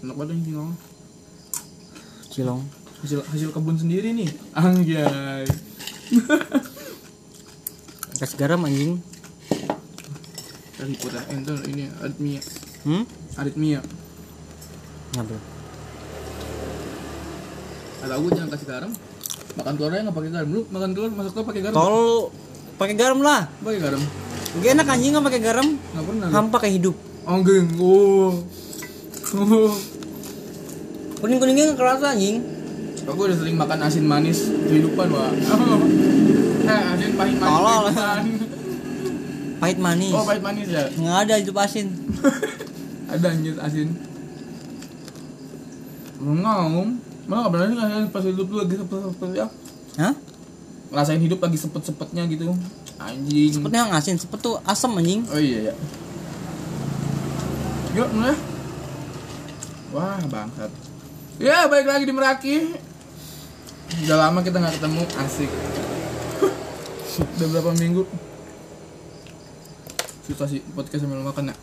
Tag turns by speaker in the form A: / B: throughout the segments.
A: Enak banget nih cilong.
B: Cilong.
A: Hasil, hasil kebun sendiri nih. Anjay.
B: Es garam anjing.
A: Dari kota enter eh, ini aritmia.
B: Hmm?
A: Aritmia.
B: Ya bro.
A: Kata aku jangan kasih garam. Makan telurnya nggak pakai garam. Lu makan telur masak telur pakai garam.
B: Tol lu. pakai garam lah.
A: Pakai garam.
B: Gak enak anjing nggak pakai garam.
A: Nggak pernah. lu.
B: Hampa kayak hidup.
A: Anggeng. Oh. Oh.
B: Kuning kuningnya nggak kerasa anjing.
A: Aku udah sering makan asin manis kehidupan, Wak. Eh, asin pahit manis.
B: Tolol.
A: kehidupan.
B: Pahit manis.
A: Oh, pahit manis ya.
B: Nggak ada hidup asin.
A: Ada anjir asin. Mengaum. Malah gak pernah sih ngerasain ya, pas hidup lu lagi sepet-sepet ya.
B: Hah?
A: Ngerasain hidup lagi sepet-sepetnya gitu. Anjing.
B: Sepetnya nggak asin. Sepet tuh asam anjing.
A: Oh iya ya. Yuk, mulai. Wah, bangsat. Ya, balik lagi di Meraki. Udah lama kita nggak ketemu, asik. Udah berapa minggu? Susah sih podcast sambil makan ya.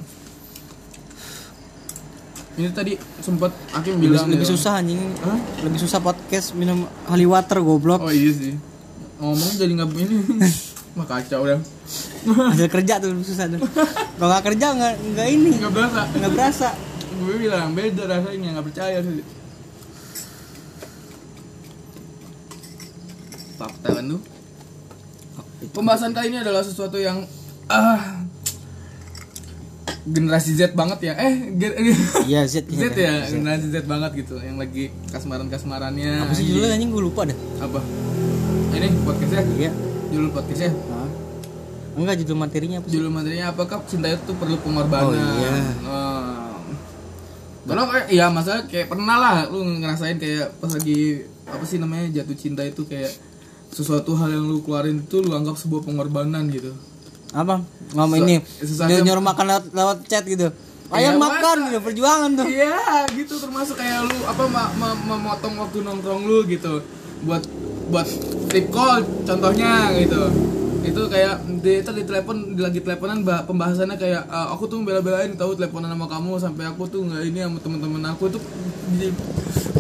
A: Ini tadi sempat Akim
B: Lebih,
A: bilang
B: lebih
A: dia-
B: susah anjing.
A: Hah?
B: Lebih susah podcast minum holy water goblok.
A: Oh iya sih. Ngomong jadi nggak ini. Mah kacau dah.
B: Hasil kerja tuh lebih susah tuh. Kalau nggak kerja nggak nggak ini
A: Nggak berasa.
B: nggak berasa.
A: gue bilang beda rasanya nggak percaya sih fakta kan tuh pembahasan kali ini adalah sesuatu yang ah generasi Z banget ya eh gen-
B: Iya Z.
A: Z ya generasi Z banget gitu yang lagi kasmaran kasmarannya
B: Apa sih judulnya anjing gue lupa dah.
A: apa ini podcastnya
B: Iya.
A: judul ya? podcastnya
B: Enggak judul materinya apa sih?
A: judul materinya apakah cinta itu perlu pengorbanan
B: Oh, iya.
A: Nah, kalau kayak ya masa kayak pernah lah lu ngerasain kayak pas lagi apa sih namanya jatuh cinta itu kayak sesuatu hal yang lu keluarin itu lu anggap sebuah pengorbanan gitu
B: Apa? Ngomong
A: Susah-
B: ini.
A: susah-
B: Nyuruh, nyuruh makan lewat, lewat chat gitu.
A: Iya,
B: Ayo makan, udah perjuangan tuh.
A: iya gitu termasuk kayak lu apa ma- ma- memotong waktu nongkrong lu gitu buat buat tip call contohnya gitu itu kayak di itu di telepon di- lagi teleponan bah- pembahasannya kayak "Ah, aku tuh bela-belain tahu teleponan sama kamu sampai aku tuh nggak ini sama teman-teman aku tuh di-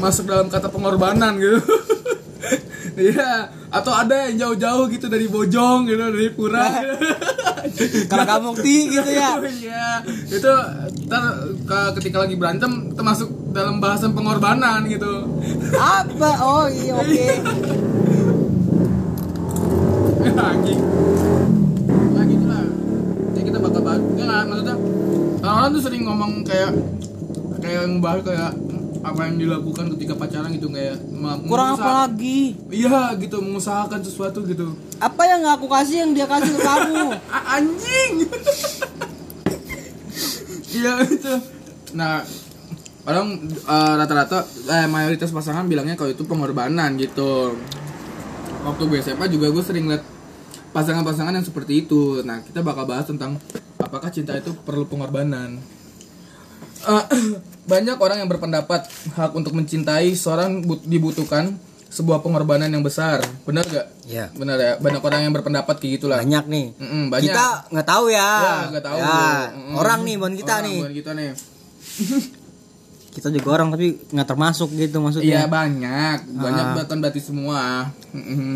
A: masuk dalam kata pengorbanan gitu Iya, atau ada yang jauh-jauh gitu dari Bojong gitu dari Pura. gitu.
B: Kalau kamu ti gitu ya.
A: Iya, itu ntar ke- ketika lagi berantem termasuk dalam bahasan pengorbanan gitu.
B: Apa? Oh iya oke.
A: Lagi, nah gitu lah. Jadi kita bakal bahas, ya nggak maksudnya orang-orang tuh sering ngomong kayak kayak ngebahas kayak apa yang dilakukan ketika pacaran gitu kayak me-
B: Kurang apa
A: mengusaha-
B: lagi?
A: Iya gitu mengusahakan sesuatu gitu.
B: Apa yang nggak aku kasih yang dia kasih ke kamu?
A: A- anjing iya itu nah orang eh, rata-rata eh, mayoritas pasangan bilangnya kalau itu pengorbanan gitu waktu gue SMA juga gue sering liat pasangan-pasangan yang seperti itu nah kita bakal bahas tentang apakah cinta itu perlu pengorbanan Eh, banyak orang yang berpendapat hak untuk mencintai seorang but- dibutuhkan sebuah pengorbanan yang besar benar gak
B: Ya.
A: benar ya banyak orang yang berpendapat kayak gitulah
B: Banyak nih.
A: Mm-mm, banyak.
B: Kita nggak tahu ya.
A: Ya, nggak tahu.
B: Ya,
A: Mm-mm.
B: Orang nih bukan
A: Orang,
B: kita nih.
A: bukan kita nih.
B: Kita juga orang tapi nggak termasuk gitu
A: Iya
B: maksudnya.
A: banyak, banyak
B: Ah.
A: bahkan berarti semua.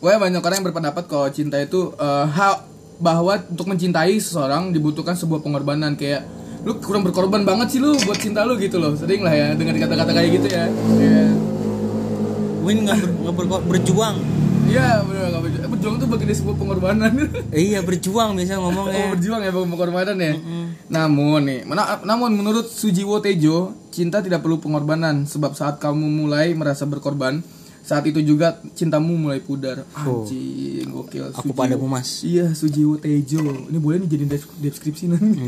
A: Wah banyak orang yang berpendapat kalau cinta itu eh, hak bahwa untuk mencintai seseorang dibutuhkan sebuah pengorbanan kayak lu kurang berkorban banget sih lu buat cinta lu gitu loh sering lah ya dengan kata-kata kayak gitu ya Iya.
B: Win nggak ber- nggak ber- berjuang.
A: iya benar nggak berjuang Eh, berjuang tuh bagian dari sebuah pengorbanan
B: Eh, Iya berjuang biasa
A: Oh,
B: ngomongnya.
A: berjuang ya bukan pengorbanan ya. Namun nih, mana- namun menurut Sujiwo Tejo, cinta tidak perlu pengorbanan sebab saat kamu mulai merasa berkorban, saat itu juga cintamu mulai pudar. Anjing, gokil.
B: Aku
A: Sujiwo.
B: padamu mas.
A: Iya, Sujiwo Tejo. Ini boleh nih jadi desk- deskripsi nanti.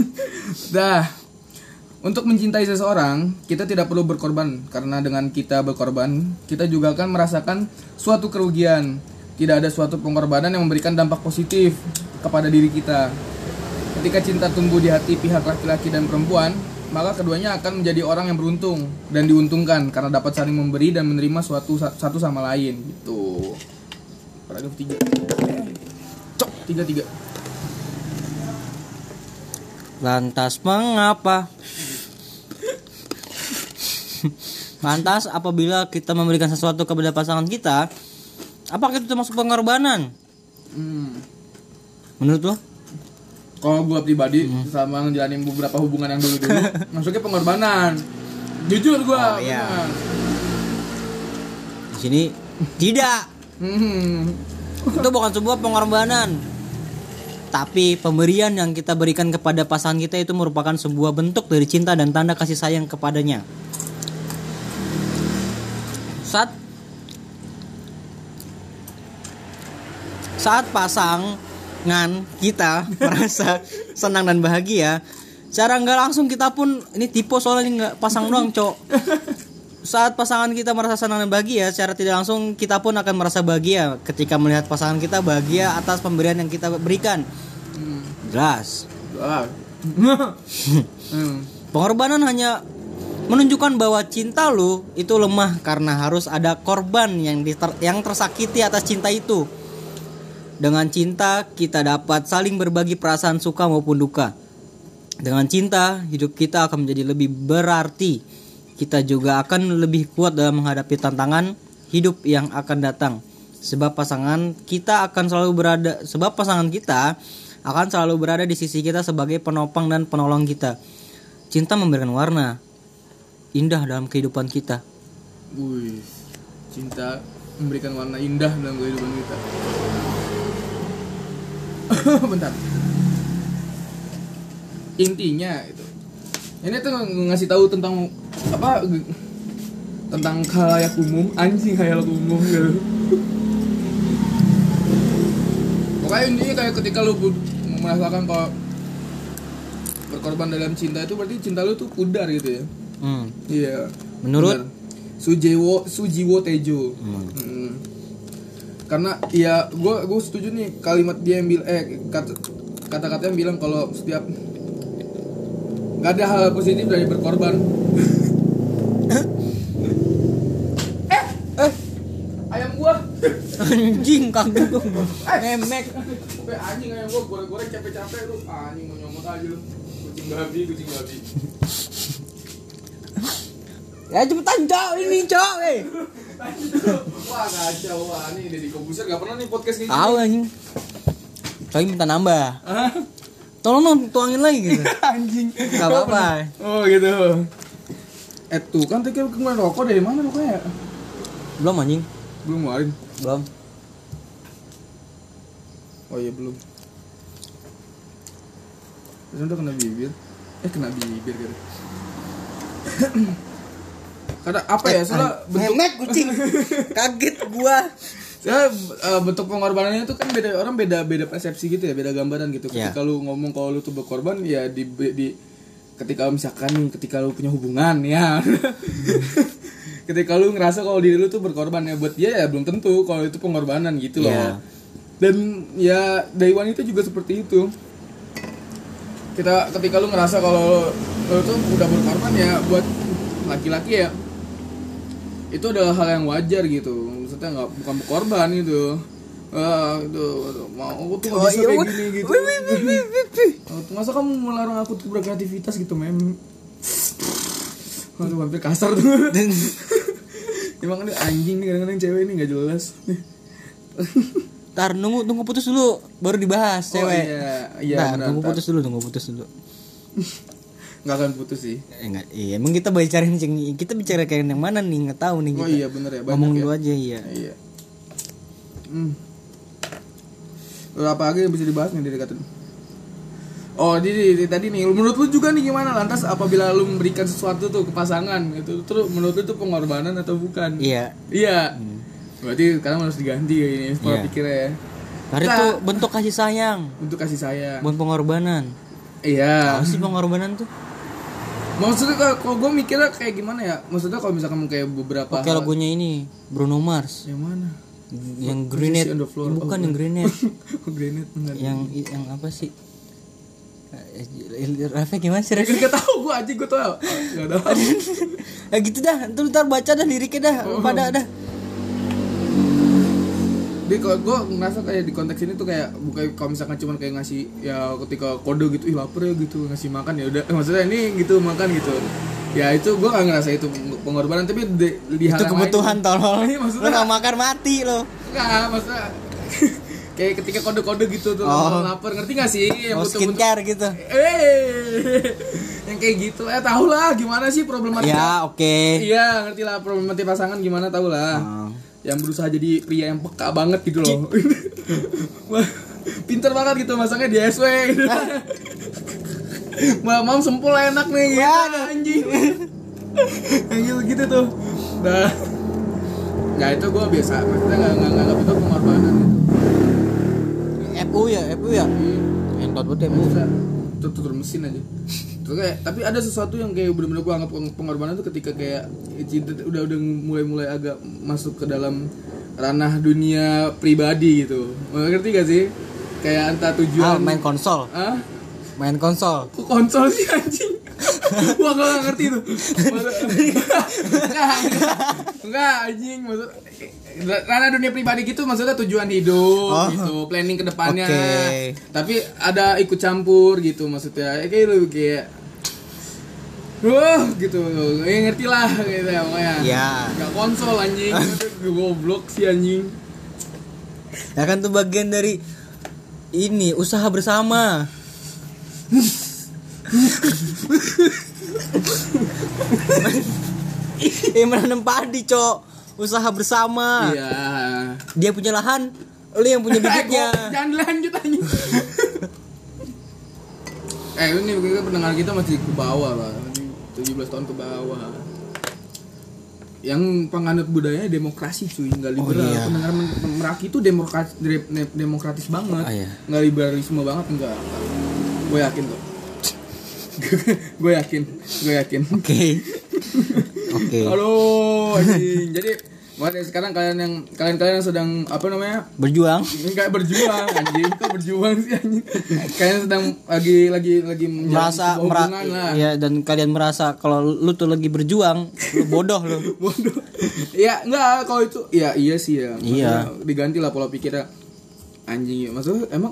A: Dah. Untuk mencintai seseorang, kita tidak perlu berkorban karena dengan kita berkorban, kita juga akan merasakan suatu kerugian. Tidak ada suatu pengorbanan yang memberikan dampak positif kepada diri kita. Ketika cinta tumbuh di hati pihak laki-laki dan perempuan, maka keduanya akan menjadi orang yang beruntung dan diuntungkan karena dapat saling memberi dan menerima suatu satu sama lain gitu. Paragraf 3. Cok, 33.
B: Lantas mengapa? Lantas apabila kita memberikan sesuatu kepada pasangan kita, apakah itu termasuk pengorbanan?
A: Hmm.
B: Menurut lo?
A: Kalau gua pribadi
B: Hmm.
A: selama ngejalanin beberapa hubungan yang dulu-dulu, masuknya pengorbanan. Jujur gua.
B: Oh, iya.
A: benar.
B: Di sini tidak.
A: Hmm.
B: Itu bukan sebuah pengorbanan. Tapi pemberian yang kita berikan kepada pasangan kita itu merupakan sebuah bentuk dari cinta dan tanda kasih sayang kepadanya. Saat saat pasangan kita merasa senang dan bahagia, secara nggak langsung kita pun ini tipe soalnya ini nggak pasang doang, cok. Saat pasangan kita merasa senang dan bahagia, secara tidak langsung kita pun akan merasa bahagia ketika melihat pasangan kita bahagia atas pemberian yang kita berikan.
A: Hmm.
B: Jelas.
A: Ah. Hmm.
B: Pengorbanan hanya menunjukkan bahwa cinta lu itu lemah karena harus ada korban yang diter- yang tersakiti atas cinta itu. Dengan cinta kita dapat saling berbagi perasaan suka maupun duka. Dengan cinta hidup kita akan menjadi lebih berarti. Kita juga akan lebih kuat dalam menghadapi tantangan hidup yang akan datang. Sebab pasangan kita akan selalu berada sebab pasangan kita akan selalu berada di sisi kita sebagai penopang dan penolong kita. Cinta memberikan warna indah dalam kehidupan kita.
A: Wih, cinta memberikan warna indah dalam kehidupan kita. Bentar. Intinya itu. Ini tuh ng- ngasih tahu tentang apa g- tentang khalayak umum, anjing khalayak umum gitu. Pokoknya intinya kayak ketika lu bu- merasakan kalau berkorban dalam cinta itu berarti cinta lu tuh pudar gitu ya.
B: Hmm.
A: Iya.
B: Menurut- Hmm.
A: Benar. Sujiwo Sujiwo Tejo. Mm. Karena ya gue gue setuju nih kalimat dia yang bilang eh kata kata yang bilang kalau setiap nggak ada hal positif dari berkorban. eh eh ayam gua
B: Anjing kagak Memek.
A: Be, Eh, anjing ayam gua goreng-goreng capek-capek lu Ah, anjing mau nyomot aja lu kucing babi kucing babi
B: Ya cepetan cok ini cok. eh.
A: wah kacau wah ini Deddy Kobuser gak pernah nih podcast kayak gini
B: Tahu anjing. Coy minta nambah. Tolong dong tuangin lagi gitu.
A: anjing
B: Gak apa-apa.
A: oh gitu eh tuh kan tadi kan kemarin rokok dari mana rokoknya ya?
B: Belum anjing.
A: belum ngeluarin
B: Belum.
A: oh iya belum Terus udah kena bibir eh kena bibir gitu karena apa
B: Eh,
A: ya soalnya bentuk
B: Memek kucing. Kaget gua.
A: soalnya, eh, bentuk pengorbanannya itu kan beda orang beda beda persepsi gitu ya beda gambaran gitu
B: Iya.
A: ketika lu ngomong kalau lu tuh berkorban ya di di ketika lu misalkan nih ketika lu punya hubungan ya ketika lu ngerasa kalau diri lu tuh berkorban ya buat dia ya belum tentu kalau itu pengorbanan gitu loh
B: Iya.
A: dan ya dari wanita juga seperti itu kita ketika lu ngerasa kalau lu tuh udah berkorban ya buat laki-laki ya itu adalah hal yang wajar gitu maksudnya nggak bukan berkorban gitu ah itu mau aku tuh nggak bisa
B: iya,
A: kayak gini gitu Oh, masa kamu melarang aku tuh berkreativitas gitu mem Aduh hampir kasar tuh Emang ini anjing nih kadang-kadang cewek ini gak jelas
B: Ntar nunggu tunggu putus dulu baru dibahas cewek.
A: iya, iya
B: Ntar,
A: benar,
B: tunggu
A: ntar.
B: putus dulu, tunggu putus dulu.
A: Gak akan putus sih
B: Eh, Enggak, iya, emang kita bicarain ceng- kita bicara kayak yang mana nih, nggak tahu nih kita.
A: Oh iya bener ya banyak
B: Gitu. Ngomong
A: ya.
B: dulu aja iya.
A: Iya hmm. Lalu apa lagi yang bisa dibahas nih dari kata Oh, di, di- di- tadi nih, menurut lu juga nih gimana lantas apabila lu memberikan sesuatu tuh ke pasangan gitu, terus menurut lu itu pengorbanan atau bukan?
B: Iya.
A: Iya. Berarti sekarang harus diganti ya ini pola
B: Iya.
A: pikirnya ya.
B: Karena
A: Nah.
B: itu bentuk kasih sayang,
A: Untuk kasih sayang.
B: bukan pengorbanan.
A: Iya.
B: Apa sih pengorbanan tuh?
A: Maksudnya kalau, kalau gue mikirnya kayak gimana ya? Maksudnya kalau misalkan kayak beberapa
B: Pakai lagunya ini Bruno Mars
A: yang mana?
B: yang Grenade.
A: on the floor. Oh, iya.
B: Bukan yang Grenade,
A: Granite bener.
B: yang yang apa sih? Rafa gimana sih Ref?
A: Gak tau gue aja gue
B: Oh,
A: tau Gak tau
B: Ya gitu dah, ntar, ntar baca dah liriknya dah,
A: Oh.
B: pada dah.
A: Jadi kalau gue ngerasa kayak di konteks ini tuh kayak bukan kalau misalkan cuman kayak ngasih ya ketika kode gitu ih lapar ya gitu ngasih makan ya udah Eh, maksudnya ini gitu makan gitu ya itu gue gak ngerasa itu pengorbanan tapi di, di hal yang
B: Itu
A: lain-
B: kebutuhan tolol.
A: Iya, maksudnya- Iya,
B: Lu gak makan mati lo.
A: Enggak, maksudnya kayak ketika kode-kode gitu tuh
B: Oh.
A: lapar, lapar ngerti gak sih yang
B: Mau
A: butuh-butuh
B: skincare gitu.
A: eh yang kayak gitu eh tau lah gimana sih problematika
B: Ya, oke.
A: iya ngerti lah problematika pasangan gimana tau lah
B: Ah.
A: yang berusaha jadi pria yang peka banget gitu loh Wah, pinter banget gitu masangnya di SW gitu. Mbak mam sempul enak nih ya anjing yang gitu, gitu tuh nah nggak itu gue biasa maksudnya nggak nggak nggak itu pengorbanan
B: FU ya, FU ya.
A: Jadi,
B: Entot
A: Ya, bisa tuh tutur mesin aja Terus kayak, tapi ada sesuatu yang kayak bener-bener gue anggap peng- pengorbanan tuh ketika kayak cinta tuh udah udah mulai-mulai agak masuk ke dalam ranah dunia pribadi gitu ngerti gak sih kayak antara
B: Ah,
A: tujuan
B: main konsol,
A: ah
B: main konsol.
A: kok konsol sih anjing gua gak ngerti tuh Maksud- enggak enggak anjing maksud ranah dunia pribadi gitu maksudnya tujuan hidup
B: Oh.
A: gitu planning ke depannya
B: Oke.
A: tapi ada ikut campur gitu maksudnya kayak lu kayak Wah gitu, ya ngerti lah gitu ya pokoknya
B: Ya.
A: Gak konsol anjing, goblok sih anjing
B: Ya kan tuh bagian dari ini usaha bersama. Eh menanam padi, Cok. Usaha bersama.
A: Iya
B: Dia punya lahan, lu yang punya
A: Eh,
B: bibitnya.
A: goblok, jangan lanjut anjing. eh ini kita pendengar kita masih ke bawah lah. Ini 17 tahun ke bawah. Yang penganut budaya demokrasi cuy, nggak
B: Oh,
A: liberal.
B: iya.
A: Pendengar men- meraki itu demokratis demokratis banget.
B: Ah, iya.
A: Nggak liberalisme banget enggak. Gue yakin tuh. gue yakin, gue yakin.
B: Oke. Oke.
A: Halo, anjing. Jadi, makanya sekarang kalian yang kalian-kalian yang sedang apa namanya?
B: Berjuang.
A: Enggak berjuang anjing, kok berjuang sih anjing. Kayaknya sedang lagi lagi lagi menjalin
B: merasa
A: sebuah
B: mera
A: hubungan lah.
B: ya dan kalian merasa kalau lu tuh lagi berjuang lu bodoh lu
A: Bodoh. Ya enggak kalau itu ya iya sih ya.
B: Iya.
A: Maksudnya diganti lah pola pikirnya. Anjing, maksudnya emang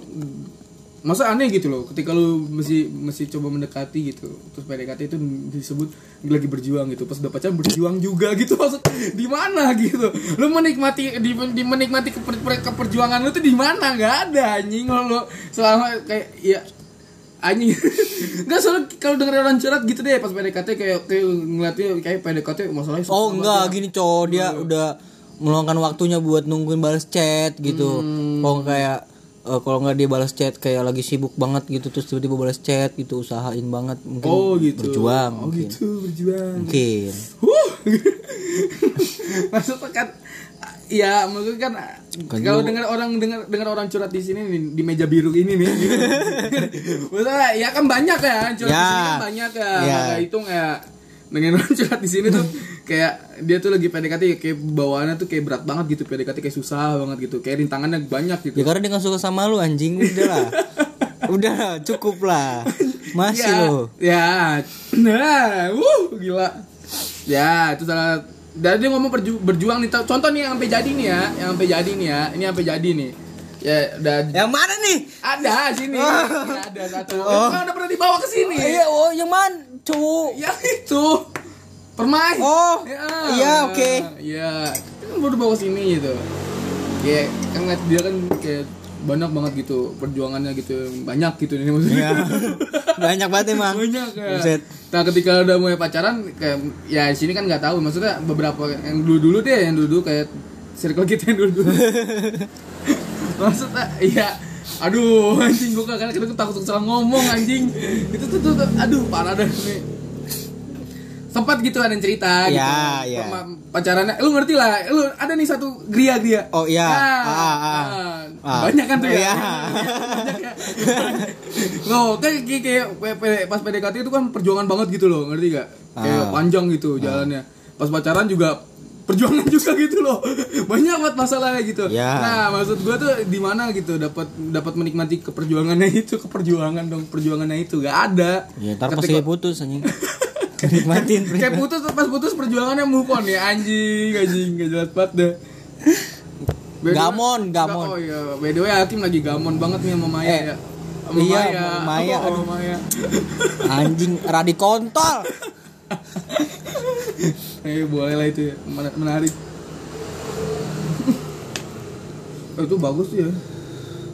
A: masa aneh gitu loh ketika lu masih masih coba mendekati gitu terus PDKT itu disebut lagi berjuang gitu pas udah pacaran berjuang juga gitu maksud di mana gitu lu menikmati di, di- menikmati keper- per- keperjuangan lu tuh di mana nggak ada anjing kalau lu selama kayak ya anjing nggak soalnya kalau dengerin orang curhat gitu deh pas PDKT kayak kayak ngeliatnya kayak PDKT masalahnya susah
B: oh enggak
A: banget
B: gini cowok dia udah meluangkan waktunya buat nungguin balas chat gitu
A: Hmm.
B: kalau kayak eh, kalau nggak dia balas chat kayak lagi sibuk banget gitu terus tiba-tiba balas chat gitu usahain banget
A: ya.
B: mungkin
A: oh gitu
B: berjuang
A: oh
B: mungkin
A: gitu berjuang
B: mungkin
A: huh maksudnya kan ya maksudnya kan
B: Kan
A: kalau
B: lu-
A: dengar orang dengar dengar orang curhat di sini nih, di meja biru ini nih maksudnya ya kan banyak ya curhat
B: Ya.
A: di sini kan banyak ya
B: Ya.
A: Maka itu kayak dengerin orang curhat di sini tuh kayak dia tuh lagi PDKT kayak bawaannya tuh kayak berat banget gitu PDKT kayak susah banget gitu kayak rintangannya banyak gitu
B: ya karena dia nggak suka sama lu anjing udah lah udah lah, cukup lah masih
A: ya,
B: lo
A: Ya. Nah, wuh, gila. Ya, itu salah dari dia ngomong perju- berjuang nih. Contoh nih yang sampai jadi nih ya, yang sampai jadi nih ya. Ini yang sampai jadi nih. Ya, udah
B: yang mana nih
A: ada sini. Ini ada satu. Oh. udah pernah dibawa ke sini.
B: Eh, Ah. oh yang mana cowok
A: Yang itu. Permai.
B: Oh,
A: Ya.
B: iya, oke.
A: Iya. Kan baru bawa ke sini gitu. Kayak kan ngeliat dia kan kayak banyak banget gitu perjuangannya gitu banyak gitu nih maksudnya.
B: Iya. Banyak banget emang.
A: banyak ya.
B: Buset.
A: Nah ketika udah mulai pacaran kayak ya di sini kan nggak tahu maksudnya beberapa yang dulu dulu deh yang dulu kayak circle kita yang dulu dulu maksudnya iya aduh anjing gua kan kadang takut salah ngomong anjing itu tuh, tuh, tuh, aduh parah dah nih sempat gitu ada yang cerita gitu
B: Ya, ya.
A: Pema- pacarannya lu ngerti lah lu ada nih satu gria gria
B: Oh, iya. Ah, ah, ah. Ah.
A: banyak kan tuh
B: Iya.
A: ya banyak ya Loh, kan kayak, kayak P- P- pas PDKT itu kan perjuangan banget gitu loh, ngerti gak? Kayak
B: Ah.
A: panjang gitu jalannya. Pas pacaran juga perjuangan juga gitu loh banyak banget masalahnya gitu
B: Ya.
A: nah maksud gua tuh di mana gitu dapat dapat menikmati keperjuangannya itu keperjuangan dong perjuangannya itu gak ada
B: Ya ntar
A: Tapi
B: pasti
A: kok-
B: putus anjing. Nikmatin.
A: kayak putus pas putus perjuangannya move on ya anjing anjing gak jelas banget deh By the way-
B: Gamon, gamon.
A: oh iya by the way Hakim lagi gamon banget nih sama Maya
B: Eh,
A: ya sama
B: iya,
A: Maya,
B: sama Maya,
A: Oh, sama Maya.
B: Anjing radi kontol.
A: eh boleh lah itu ya. Men- menarik Eh, itu bagus tuh ya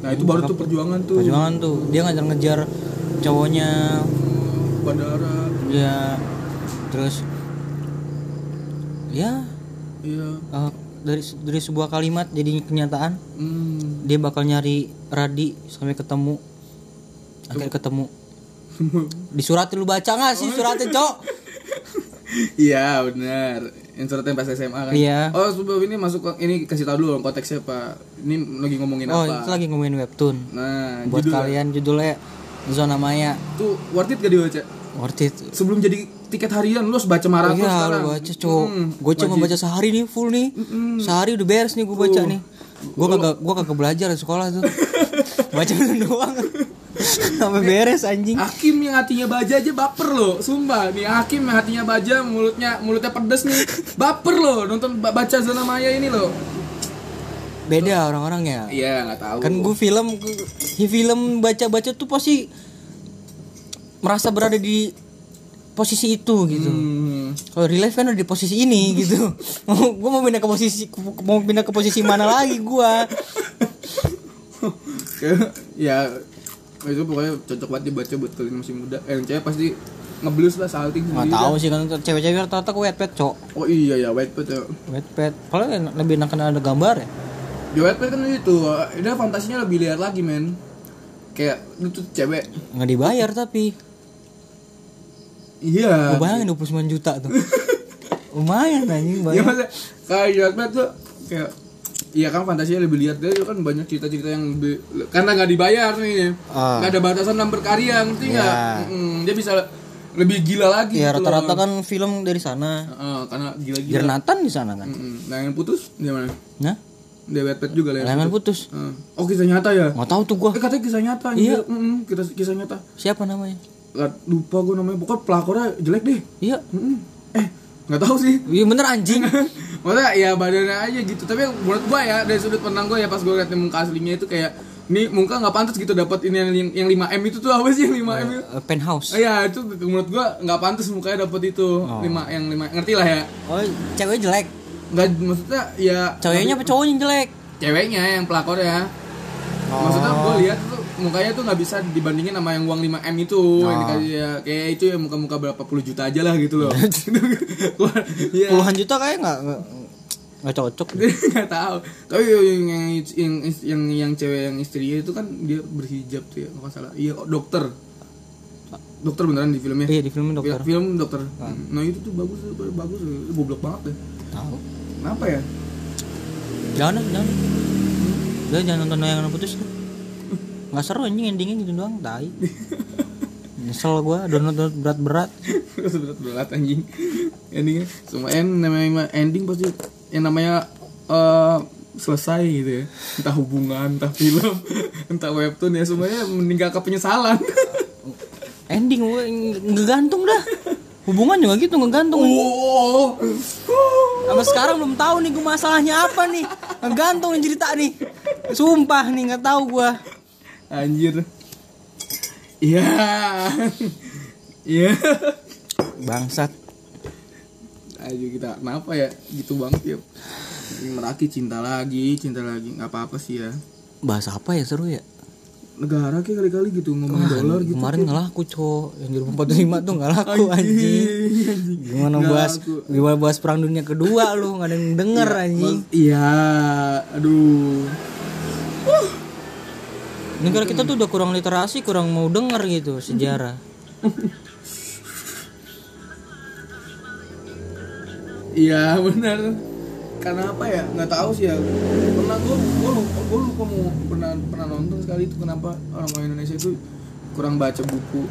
A: nah itu baru tuh perjuangan tuh
B: Perjuangan tuh dia ngejar-ngejar cowoknya
A: bandara
B: dia terus ya
A: iya
B: eh, dari se- dari sebuah kalimat jadi kenyataan
A: hmm.
B: dia bakal nyari Radi sampai ketemu akhirnya ketemu di surat lu baca nggak sih suratnya cok
A: Iya benar. Insertnya pas SMA kan.
B: Iya.
A: Oh sebelum ini masuk ke- ini kasih tahu dulu dong konteksnya pak. Ini lagi ngomongin
B: oh
A: apa?
B: itu lagi ngomongin webtoon
A: Nah judul
B: buat kalian judulnya zona maya
A: tuh worth it gak dibaca?
B: worth it
A: Sebelum jadi tiket harian lu harus baca maraton
B: Iya
A: sekarang.
B: lu baca cok
A: Hmm,
B: Gue cuma
A: wajib.
B: baca sehari nih full nih Sehari udah beres nih gue baca nih Gue kagak, gua kagak belajar di sekolah tuh Baca itu doang Sampai beres anjing
A: Hakim yang hatinya baja aja baper loh, sumpah. Nih Hakim yang hatinya baja, mulutnya mulutnya pedes nih, baper loh nonton ba- baca zona maya ini loh.
B: Beda orang-orang ya
A: Iya nggak tahu.
B: Kan gue film gua- di Film baca-baca tuh pasti Merasa berada di posisi itu gitu
A: Hmm.
B: Kalau real life kan udah di posisi ini gitu mau, Gue mau pindah ke posisi Mau pindah ke posisi mana lagi gue
A: ya itu pokoknya cocok banget dibaca buat kalian masih muda eh, yang cewek pasti ngeblus lah salting
B: Gak
A: sendiri
B: tau sih kan Cewek-cewek rata-rata ke wetpad cok
A: oh iya ya white pet ya
B: Wetpad Paling enak- lebih enak karena ada gambar ya
A: di white pet kan itu eh, dia fantasinya lebih liar lagi men kayak itu cewek
B: Nggak dibayar tapi Gue
A: iya
B: bayangin 29 juta tuh Lumayan
A: ya
B: anjing banyak
A: maksudnya kalau di white pet tuh kayak Iya kan fantasinya lebih liar dia kan banyak cerita-cerita yang lebih karena nggak dibayar nih
B: Ah.
A: nggak ada batasan dalam berkarya ngerti nggak
B: Iya.
A: Mm, dia bisa lebih gila lagi
B: Ya
A: gitu loh.
B: rata-rata kan film dari sana
A: Heeh, karena gila-gila
B: Jernatan di sana kan
A: Mm-mm. Nah yang putus dia mana?
B: Nah
A: Dia wetpad juga lah. yang
B: Lengan
A: putus.
B: putus
A: Heeh. Oh kisah nyata ya?
B: Nggak tahu tuh gue
A: Eh katanya kisah nyata. Iya. Kita kisah nyata.
B: Siapa namanya
A: Nggak, lupa gue namanya. Pokoknya pelakornya jelek deh.
B: Iya
A: Mm-mm. Eh nggak tahu sih.
B: Iya bener anjing
A: Maksudnya ya badannya aja gitu. Tapi menurut gue ya dari sudut pandang gue ya pas gue liat muka aslinya itu kayak nih muka nggak pantas gitu dapat ini yang, yang 5 m itu tuh apa sih yang 5 m? itu?
B: Eh, Penthouse
A: Iya itu menurut gue nggak pantas mukanya dapat itu 5 yang 5 ngerti lah ya.
B: Oh cewek jelek
A: Nggak maksudnya ya
B: Ceweknya apa cowoknya yang jelek
A: ceweknya yang pelakor ya maksudnya
B: Oh.
A: gue lihat tuh mukanya tuh nggak bisa dibandingin sama yang uang 5 m itu
B: Oh.
A: yang dikasih ya kayak itu ya muka-muka berapa puluh juta aja lah gitu loh Iya.
B: Puluhan juta kayaknya nggak nggak- nggak cocok
A: nggak tahu tapi yang yang yang, yang, yang cewek yang istrinya itu kan dia berhijab tuh ya kalau nggak salah iya oh, dokter dokter beneran di filmnya
B: Iya di film
A: Fil-
B: dokter Ah.
A: film dokter nah itu tuh bagus tuh, bagus itu goblok banget deh
B: Tahu.
A: kenapa ya
B: Jangan, lah, jangan. Udah jangan nonton layangan putus. lah. Nggak seru anjing endingnya gitu doang, tai. Nyesel gua download download berat-berat.
A: Terus berat berat anjing endingnya semua end namanya ending pasti yang namanya eh, selesai gitu ya entah hubungan entah film entah webtoon ya semuanya meninggalkan penyesalan
B: Ending gua ng- ngegantung dah. Hubungan juga gitu ngegantung.
A: oh
B: Sama sekarang belum tahu nih gua masalahnya apa nih. Ngegantung nih cerita nih. Sumpah nih nggak tahu gua.
A: anjir iya iya
B: Bangsat.
A: ayo kita kenapa ya gitu banget ya meraki cinta lagi cinta lagi nggak apa apa sih ya
B: Bahas apa ya seru ya?
A: negara kayak kali-kali gitu ngomong dolar gitu
B: Kemarin nggak laku, Cok. Yang 2045 tuh nggak laku anjing.
A: Iya, anjing.
B: Gimana
A: Nggak
B: bahas
A: laku.
B: gimana bahas perang dunia kedua lu nggak ada yang denger anjing.
A: Mas- Iya, aduh.
B: Negara kita tuh udah kurang literasi, kurang mau denger gitu sejarah.
A: Iya benar. Karena apa ya? Nggak tahu sih ya. Pernah gue, gue lupa, gue lupa mau pernah pernah nonton sekali itu kenapa orang orang Indonesia itu kurang baca buku.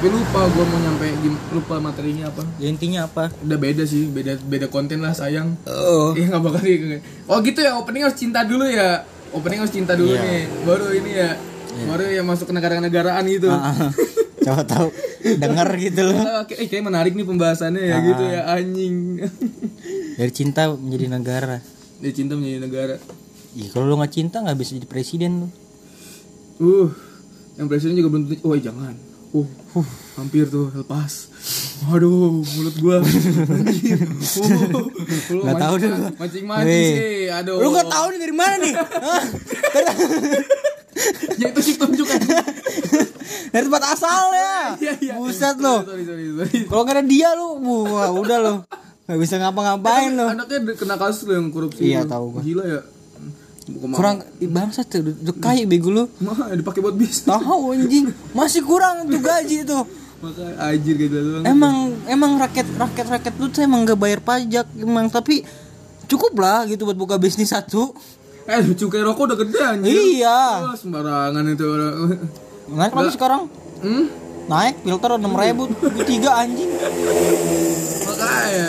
A: tapi lupa gue mau nyampe gim- lupa materinya apa
B: Ya, intinya apa?
A: udah beda sih beda beda konten lah sayang
B: Oh.
A: Iya nggak bakal di- Oh gitu ya opening harus cinta dulu ya. Opening harus cinta dulu
B: Iya.
A: nih. Baru ini ya. Baru ya masuk ke negara-negaraan gitu.
B: Ah, Coba tahu denger gitu loh.
A: Ah, Oke, eh, kayaknya menarik nih pembahasannya ya gitu ya
B: Ah.
A: anjing.
B: Dari cinta menjadi negara.
A: Dia cinta menjadi negara.
B: Ih, kalau lu nggak cinta nggak bisa jadi presiden lu.
A: Uh, yang presiden juga belum tentu. Oh jangan. Uh, uh, hampir tuh lepas. Waduh, mulut gua. Anjir. Uh, lu
B: Nggak tahu deh gua.
A: Mancing mancing
B: Weh.
A: sih. Aduh.
B: Lu nggak tahu nih dari mana nih? Hah?
A: Ya itu sih tunjukkan.
B: dari tempat asal ya.
A: Iya, iya.
B: Buset lu.
A: Sorry, sorry, sorry.
B: Kalau nggak ada dia lu, wah udah lu. Gak bisa ngapa-ngapain lu.
A: Anaknya de- kena kasus lo yang korupsi.
B: Iya,
A: lo.
B: tahu gua.
A: Gila ya. Bukan
B: Kurang ih, bangsa tuh, udah kaya bego lu.
A: mah eh, dipakai buat bisnis.
B: Tahu anjing, masih kurang tuh gaji tuh.
A: Maka ajir gitu doang.
B: Emang emang rakyat rakyat rakyat lu tuh emang gak bayar pajak emang tapi cukup lah gitu buat buka bisnis satu.
A: Eh, cukai rokok udah gede anjir.
B: Iya.
A: Wah, sembarangan itu orang.
B: Naik lagi sekarang.
A: Hmm?
B: Naik filter enam ribu tiga anjing.
A: Makanya.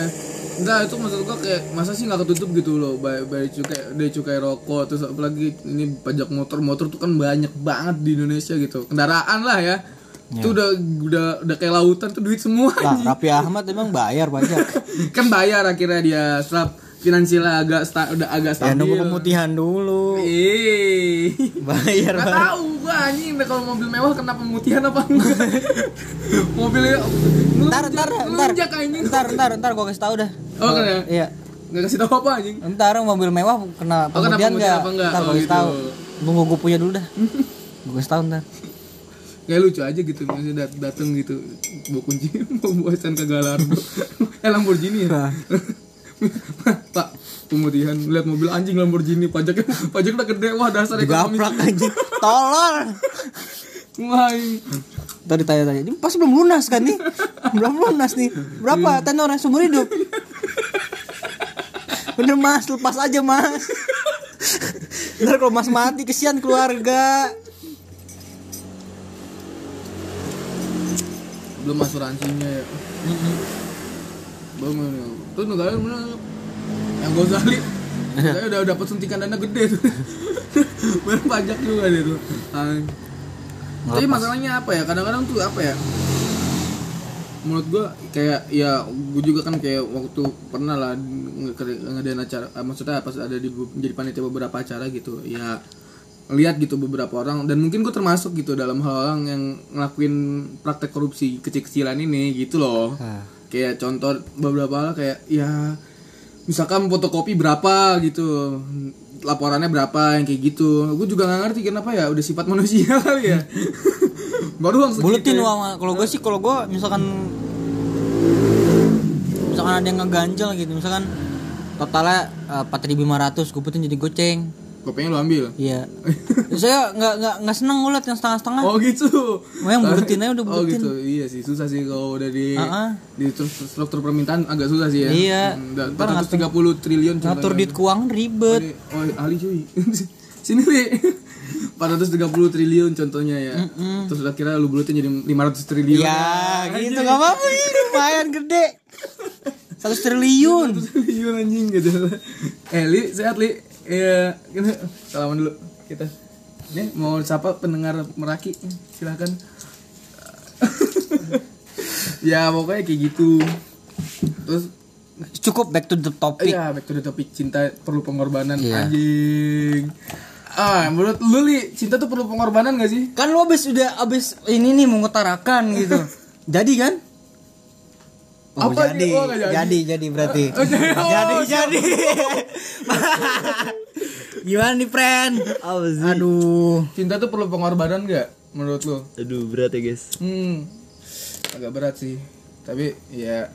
A: Enggak, itu maksud gua kayak masa sih nggak ketutup gitu loh bayar, bayar cukai dari cukai rokok terus apalagi ini pajak motor motor tuh kan banyak banget di Indonesia gitu kendaraan lah ya itu udah udah udah kayak lautan tuh duit semua
B: Iya. Lah Raffi Ahmad emang bayar pajak.
A: kan bayar akhirnya dia setelah finansialnya agak sta- udah agak
B: Ya
A: stabil.
B: nunggu pemutihan dulu.
A: Ih.
B: Bayar
A: Gak
B: bayar.
A: tahu gua anjing deh kalau mobil mewah kena pemutihan apa enggak. Mobilnya
B: Ntar ntar ntar
A: melunjak anjing.
B: ntar ntar ntar gua kasih tahu dah.
A: Oh, kan ya?
B: Iya.
A: Enggak kasih tahu apa anjing.
B: Ntar mobil mewah kena
A: Oh, kena
B: pemutihan
A: pemutihan
B: nggak?
A: apa nggak?
B: Ntar
A: Oh,
B: gua kasih
A: gitu.
B: tahu. Nunggu gua punya dulu dah. Gua kasih tahu ntar.
A: Kayak lucu aja gitu maksudnya dat- dateng gitu bawa kunci mau buatan ke Galardo. eh Lamborghini
B: Iya.
A: ya. Pak, pemutihan lihat mobil anjing Lamborghini pajaknya pajak udah gede wah dasar ekonomi.
B: Digaplak anjing. Tolol.
A: Wah, ini-
B: Tadi tanya-tanya, ini pasti belum lunas kan nih? belum lunas nih. Berapa tenornya seumur hidup? Bener mas, lepas aja mas. Ntar kalau mas mati, kesian keluarga.
A: belum asuransinya ya. Belum ya. Tuh negara mana? Yang Gozali. Saya udah dapat suntikan dana gede tuh. Bayar pajak juga dia tuh. Ay. Tapi masalahnya apa ya? Kadang-kadang tuh apa ya? Menurut gua kayak ya gua juga kan kayak waktu pernah lah nge- nge- ngadain acara eh, maksudnya pas ada di menjadi panitia beberapa acara gitu. Ya lihat gitu beberapa orang dan mungkin gue termasuk gitu dalam hal orang yang ngelakuin praktek korupsi kecil-kecilan ini gitu loh
B: Hah.
A: kayak contoh beberapa hal kayak ya misalkan fotokopi berapa gitu laporannya berapa yang kayak gitu gue juga nggak ngerti kenapa ya udah sifat manusia kali ya baru uang segitu
B: Buletin
A: ya.
B: uang. Kalau gue sih, kalau gue misalkan misalkan ada yang ngeganjel gitu, misalkan totalnya eh, 4.500 gue putin jadi goceng.
A: kopinya lu ambil
B: Iya. Saya nggak nggak nggak seneng ngeliat yang setengah-setengah.
A: oh gitu
B: Mau yang buletin aja udah
A: oh
B: buletin.
A: gitu iya sih susah sih kalau udah di
B: Ah, ah.
A: di stru- struktur permintaan agak susah sih ya
B: Iya.
A: empat triliun contohnya.
B: Ngatur duit keuangan ribet.
A: Oh, ahli cuy. Sini, Li. 430 triliun contohnya ya. Terus udah kira lu bulutin jadi 500 triliun.
B: Ya, gitu gak apa-apa sih lumayan gede. Satu triliun.
A: 100 triliun anjing gitu. Eh, Li, sehat, Li. Iya, kita salaman dulu kita. Ya, mau sapa pendengar Meraki, silakan. ya, pokoknya kayak gitu. Terus
B: Cukup back to the topic.
A: Iya, back to the topic cinta perlu pengorbanan
B: Iya.
A: anjing. Ah, menurut lu li, cinta tuh perlu pengorbanan gak sih?
B: Kan lu abis udah abis ini nih mengutarakan gitu. Jadi kan? Oh,
A: Apa
B: jadi,
A: ini? Oh, nggak jadi.
B: jadi, jadi berarti.
A: Oh, jadi. Oh,
B: jadi, jadi. Gimana nih, friend? Aduh.
A: Cinta tuh perlu pengorbanan gak menurut lu?
C: Aduh berat ya guys.
A: Hmm. Agak berat sih. Tapi ya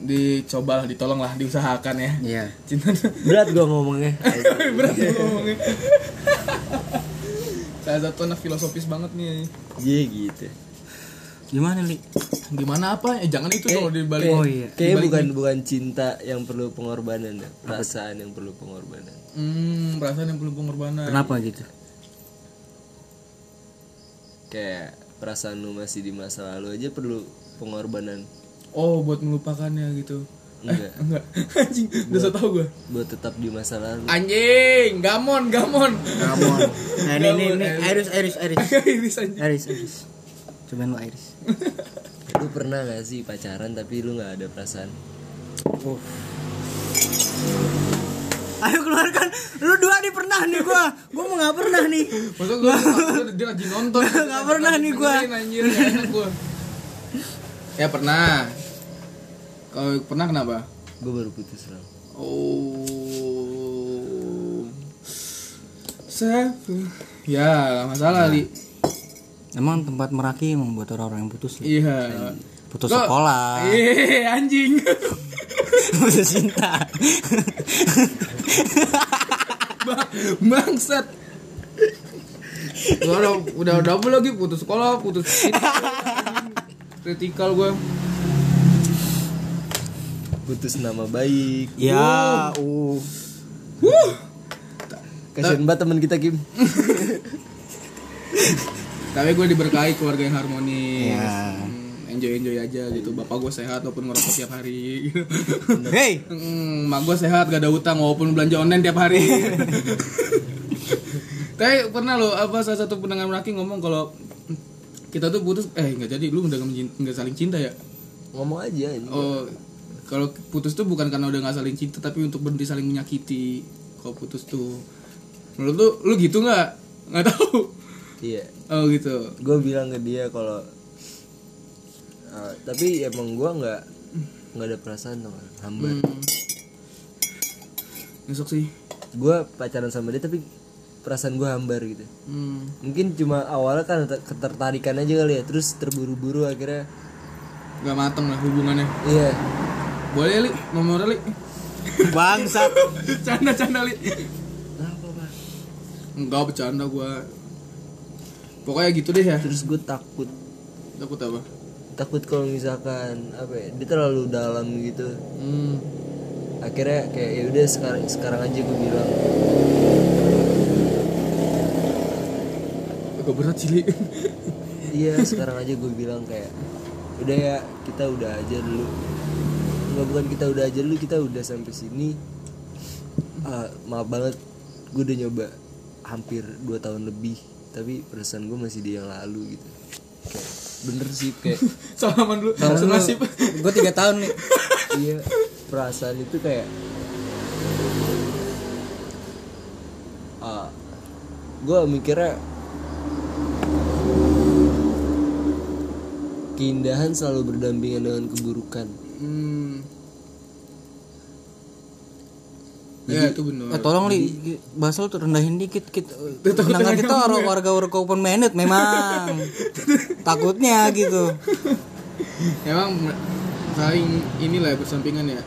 A: dicobalah, ditolonglah, diusahakan ya.
B: Iya.
A: Cinta tuh
C: Berat gua ngomongnya.
A: berat sih ngomongnya. Salah satu anak filosofis banget nih.
C: Iya gitu.
B: Gimana, Li?
A: Gimana apa? Eh, jangan itu dong dibalik.
B: Oh, iya.
C: eh. Kayaknya bukan bukan cinta yang perlu pengorbanan ya, perasaan yang perlu pengorbanan.
A: Hmm,
B: gitu?
A: perasaan yang perlu pengorbanan.
B: Kenapa gitu?
C: Kayak perasaan lu masih di masa lalu aja perlu pengorbanan
A: oh buat melupakannya gitu
C: enggak
A: enggak anjing udah so tau gue
C: buat tetap di masa lalu
A: anjing gamon gamon
B: Ramon. Nah, ini ini ini
A: Ramon,
B: Iris Iris Iris.
A: iris anjing
B: Iris Iris. Cuman lu Iris.
C: lu pernah gak sih pacaran tapi lu nggak ada perasaan
B: Ayo keluarkan. Lu dua nih pernah nih gua. Gua mau nggak pernah nih.
A: Maksud gue dia lagi nonton gitu,
B: Nggak
A: lagi-
B: pernah
A: lagi
B: nih gua.
A: dengerin, anjir, nggak enak gua. Ya pernah Kalau pernah kenapa?
C: gue baru putus Ram.
A: Oh Satu Ya nggak masalah Li
B: Emang tempat meraki emang buat orang-orang yang putus ya?
A: Iya
B: Putus
A: Kok-
B: sekolah,
A: Iya anjing
B: putus cinta.
A: Bang- Bangsat Gua udah, udah double lagi putus sekolah putus ini. kritikal gue
C: putus nama baik
B: ya, uh.
C: kasian banget teman kita Kim
A: tapi gue diberkahi keluarga yang harmonis
B: Iya.
A: enjoy enjoy aja gitu bapak gue sehat walaupun ngerokok tiap hari gitu.
B: Hey,
A: Hmm, mak gue sehat gak ada utang walaupun belanja online tiap hari tapi pernah loh apa salah satu pendengar meraki ngomong kalau kita tuh putus eh nggak jadi lu udah nggak menjin- nggak saling cinta ya
C: ngomong aja ini.
A: oh kalau putus tuh bukan karena udah nggak saling cinta tapi untuk berhenti saling menyakiti kalau putus tuh menurut lu lu gitu nggak nggak tahu
C: iya
A: oh gitu
C: gue bilang ke dia kalau eh, tapi emang gue nggak nggak ada perasaan tuh hambar
A: besok sih
C: gue pacaran sama dia tapi perasaan gue hambar gitu
A: Hmm.
C: mungkin cuma awalnya kan te- ketertarikan aja kali ya terus terburu-buru akhirnya
A: Gak mateng lah hubungannya
C: iya
A: Boleh Li, nomor Li
B: bangsat.
A: Canda-canda Li Enggak bercanda gua Pokoknya gitu deh ya
C: terus gue takut
A: Takut apa?
C: takut kalau misalkan apa ya dia terlalu dalam gitu
A: Hmm.
C: akhirnya kayak ya udah sekarang sekarang aja gue bilang
A: Agak berat sih Li
C: iya sekarang aja gue bilang kayak udah ya kita udah aja dulu nggak bukan kita udah aja dulu kita udah sampai sini Ah, maaf banget gue udah nyoba hampir 2 tahun lebih tapi perasaan gue masih di yang lalu gitu Kayak, bener sih kayak
A: Salaman dulu Nah, Senasib
B: Gue tiga tahun nih.
C: iya perasaan itu kayak ah gue mikirnya keindahan selalu berdampingan dengan keburukan
A: Hmm. Ya itu bener
B: Eh, tolong li, bahasa lu tuh rendahin dikit. Kita, sedangkan kita orang warga warga open minded memang. Takutnya gitu.
A: Emang mer- saling inilah ya, bersampingan ya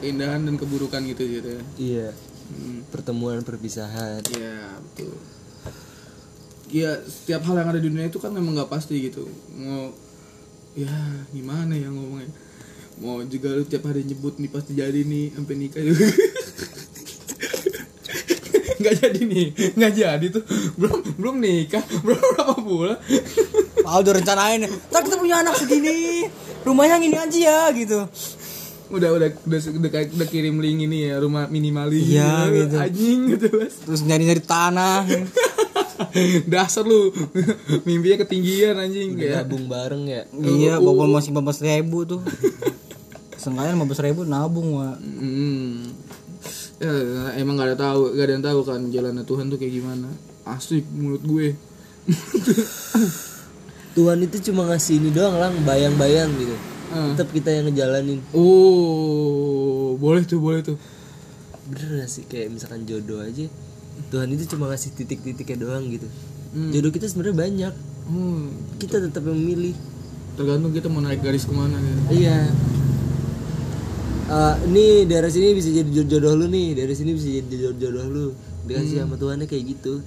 A: Keindahan dan keburukan gitu gitu ya
C: iya
A: Hmm.
C: pertemuan perpisahan
A: Ya betul. Ya setiap hal yang ada di dunia itu kan memang nggak pasti gitu. Mau ya gimana ya ngomongnya. Mau juga lu tiap hari nyebut nih pasti jadi nih sampai nikah juga. nggak jadi nih, nggak jadi tuh. Belum belum nikah, belum berapa bulan.
B: Ah udah rencanain. Ntar kita punya anak segini. Rumahnya yang ini aja ya gitu.
A: udah udah udah udah, kayak- udah kirim link ini ya rumah minimalis
B: Iya, gitu.
A: anjing gitu Mas.
B: Terus nyari nyari tanah.
A: dasar lu mimpinya ketinggian anjing ya
C: nabung bareng ya
B: iya, bawa masih lima ribu tuh. Sengaja lima ribu nabung wa.
A: Hmm. Ya, emang gak ada tahu, gak ada yang tahu kan jalannya Tuhan tuh kayak gimana. Asik menurut gue.
C: Tuhan itu cuma ngasih ini doang lang bayang-bayang gitu
A: Ah.
C: tetap kita yang ngejalanin
A: Oh, boleh tuh, boleh tuh.
C: bener gak sih kayak misalkan jodoh aja Tuhan itu cuma ngasih titik-titiknya doang gitu jodoh kita sebenarnya banyak
A: Hmm,
C: kita tetap yang milih
A: tergantung kita mau naik garis kemana gitu.
C: iya Eh, nih daerah sini bisa jadi jod- jodoh lu nih daerah sini bisa jadi jod- jodoh lu dikasih sama Tuhannya kayak gitu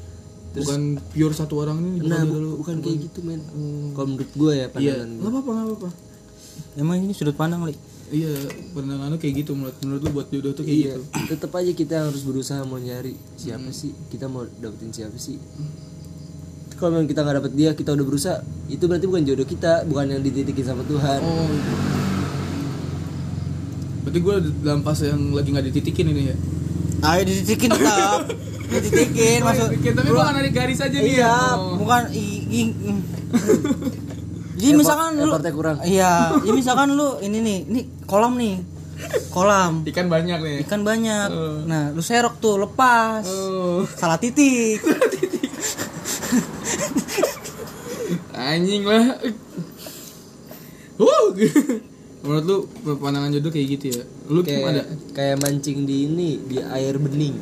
A: Hmm. Bukan pure satu orang ini.
C: nah bu- bukan kayak gitu men kalau menurut gue ya
A: Hmm. Iya,
C: pandangan gua.
A: nggak apa-apa, nggak apa-apa.
B: Emang ini sudut pandang li.
A: Iya, pandangan lu kayak gitu menurut menurut lu buat jodoh tuh kayak
C: iya
A: gitu.
C: tetap
A: Hmm.
C: aja kita harus berusaha mau nyari siapa sih kita mau dapetin siapa sih kalau memang kita nggak dapet dia kita udah berusaha itu berarti bukan jodoh kita bukan yang dititikin sama Tuhan
A: Oh. Berarti gue dalam fase yang lagi nggak dititikin ini ya.
B: ayo dititikin tetap dititikin maksud
A: Oke, tapi
B: gua-
A: bukan ada garis aja nih
B: iya
A: ya.
B: bukan i- i- i- jadi
C: Effort-
B: misalkan lu
C: effortnya kurang.
B: iya ya misalkan lu ini nih ini kolam nih kolam
A: Iya. Ikan banyak nih.
B: ikan banyak
A: Eh.
B: nah lu serok tuh lepas
A: Oh.
B: salah titik
A: Anjing lah. Huh. Menurut lu pandangan jodoh kayak gitu ya? Lu Kim, ada?
C: kayak kayak mancing di ini di air bening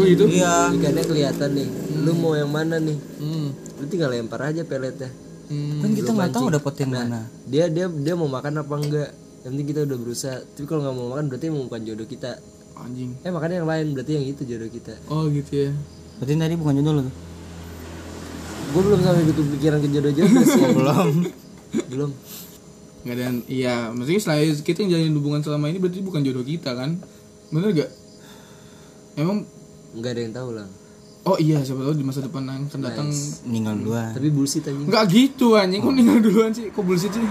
A: Gue gitu.
B: iya
C: ikannya kelihatan nih lu mau yang mana nih
A: Hmm.
C: lu tinggal lempar aja peletnya
A: Hmm.
B: kan kita nggak tahu dapet yang mana
C: dia dia dia mau makan apa enggak yang penting kita udah berusaha tapi kalau nggak mau makan berarti emang bukan jodoh kita
A: Anjing.
C: eh makannya yang lain berarti yang itu jodoh kita
A: Oh gitu ya.
B: berarti tadi bukan jodoh lu tuh
C: gue belum sampai gitu pikiran ke jodoh jodoh sih Oh, belum belum
A: Nggak ada yang- iya, maksudnya selain kita yang jalanin hubungan selama ini berarti bukan jodoh kita kan? Bener gak? Emang
C: nggak ada yang tahu lah
A: Oh iya, siapa tahu di masa depan yang akan datang.
B: meninggal duluan
C: tapi bullshit anjing
A: Enggak gitu anjing, kok ninggal duluan sih? Kok bullshit sih?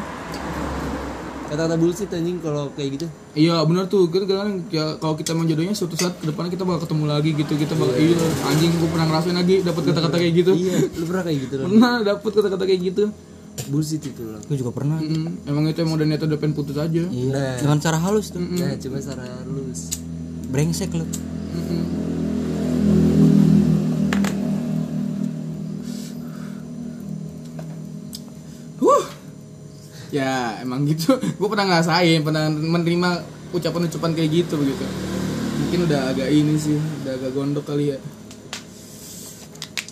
C: kata-kata bullshit anjing kalau kayak gitu
A: Iya benar tuh, kan kadang ya, kalau kita emang jodohnya suatu saat ke depannya kita bakal ketemu lagi gitu, kita bakal iya anjing gue pernah ngerasain lagi dapat kata-kata kayak gitu.
C: iya lu pernah kayak gitu loh
A: Pernah dapat kata-kata kayak gitu.
C: bullshit itu loh
B: gue juga pernah
A: Mm, emang itu emang udah niat udah pengen putus aja.
C: Nah.
B: iya dengan cara halus tuh
C: nah cuma secara halus
B: brengsek lu
A: Mm-mm. Huh. Ya emang gitu. Gue pernah ngerasain, pernah menerima ucapan-ucapan kayak gitu begitu. Mungkin udah agak ini sih, udah agak gondok kali ya.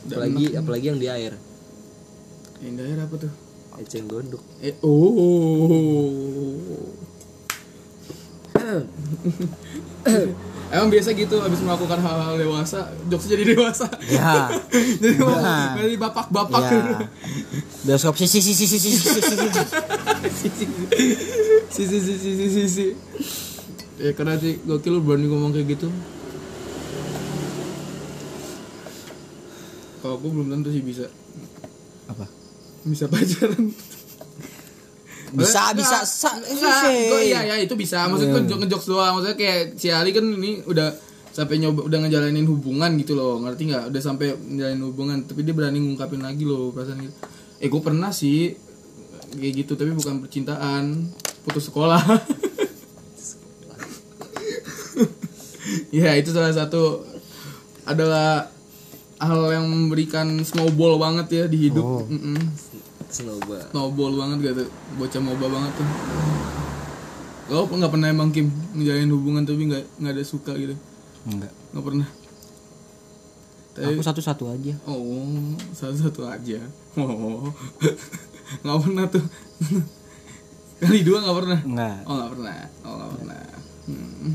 A: Udah
C: apalagi apalagi yang di air
A: enak. Yang daerah apa tuh?
C: eceng gondok
A: Eh, oh. Emang biasa gitu habis melakukan hal-hal dewasa, jokes jadi dewasa.
B: Ya.
A: jadi
B: Nah.
A: dari bapak-bapak.
B: ya bioskop sih sih sih sih sih sih sih, sih, sih.
A: si si si si si si si. Ya karena sih gokil lu berani ngomong kayak gitu. Kalau aku belum tentu sih bisa
B: apa
A: bisa pacaran.
B: bisa
A: Enggak,
B: bisa sa eh.
A: Enggak, gua- iya ya itu bisa. Maksudnya gua ngejok ngejokes doang. Maksudnya kayak si Ali kan ini udah sampai nyoba udah ngejalanin hubungan gitu loh. Ngerti nggak? Udah sampai ngejalanin hubungan, tapi dia berani ngungkapin lagi loh perasaan gitu. Eh, gue pernah sih kayak gitu, tapi bukan percintaan, putus sekolah. ya itu salah satu adalah hal yang memberikan snowball banget ya di hidup.
B: Oh.
A: Mm-mm
C: snowball
A: snowball banget gak tuh bocah moba banget tuh lo nggak pernah emang Kim ngejalanin hubungan tapi nggak nggak ada suka gitu
B: enggak
A: nggak pernah tapi
B: aku satu satu aja
A: oh satu satu aja oh nggak pernah tuh kali dua nggak pernah
B: enggak
A: oh nggak pernah oh nggak pernah hmm.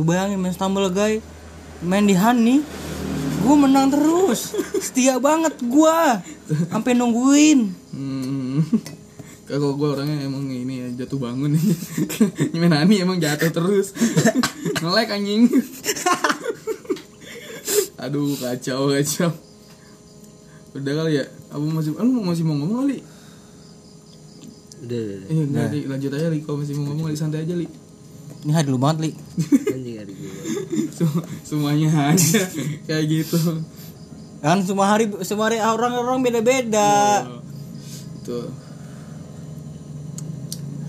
B: lu bayangin main stumble guy main di honey gue menang terus setia banget gua sampai nungguin
A: Hmm. Kalau gue orangnya emang ini ya jatuh bangun Nyemen Ani emang jatuh terus Ngelek anjing Aduh kacau kacau Udah kali ya Apa masih ah, lu masih mau ngomong kali?
C: udah udah, udah.
A: Eh enggak Li. lanjut aja Li Kalau masih mau ngomong Li santai aja Li
B: ini hadil lu banget li
C: anjing hari gue
A: Sem- Semuanya aja Kayak gitu
B: kan semua hari semua hari orang orang beda beda
A: Oh. Tuh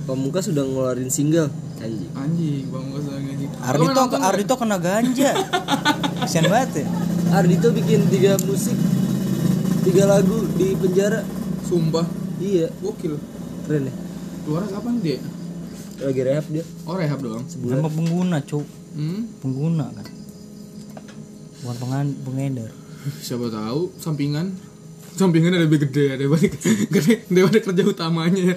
C: Pamungkas sudah ngeluarin single anjing
A: Anjing Bang Bos anjing
B: Ardito Ardito kena ganja kasian banget ya
C: Ardito bikin tiga musik tiga lagu di penjara
A: Sumpah
C: iya
A: Gokil
C: keren ya
A: Keluar kapan dia?
C: lagi rehab dia
A: Oh rehab doang
B: sama pengguna cuk
A: Hmm
B: pengguna kan bukan pengan pengedar
A: siapa tahu sampingan sampingan ada lebih gede ada banyak gede daripada kerja utamanya ya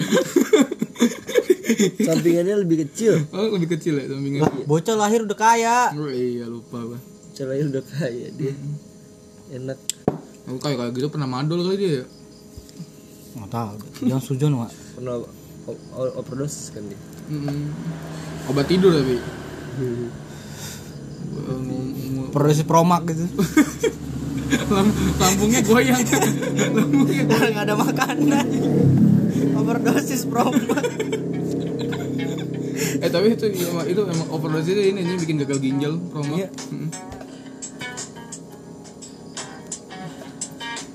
C: sampingannya lebih kecil
A: oh lebih kecil ya sampingan
B: Lah, bocah lahir udah kaya
A: oh, iya lupa gua
C: caranya udah kaya dia enak
A: aku kayak kayak gitu pernah madol kali dia ya
B: nggak tahu jangan sujon pak
C: pernah o- o- overdosis kan dia
A: Mm-mm. obat tidur tapi
C: Hmm.
A: Gua ngom- ngom-
B: produksi promak gitu
A: Lam- lambungnya goyang lambungnya
B: Udah nggak ada makanan overdosis promo
A: eh tapi itu itu emang overdosis itu ini ini bikin gagal ginjal promo
B: Iya.
A: Mm.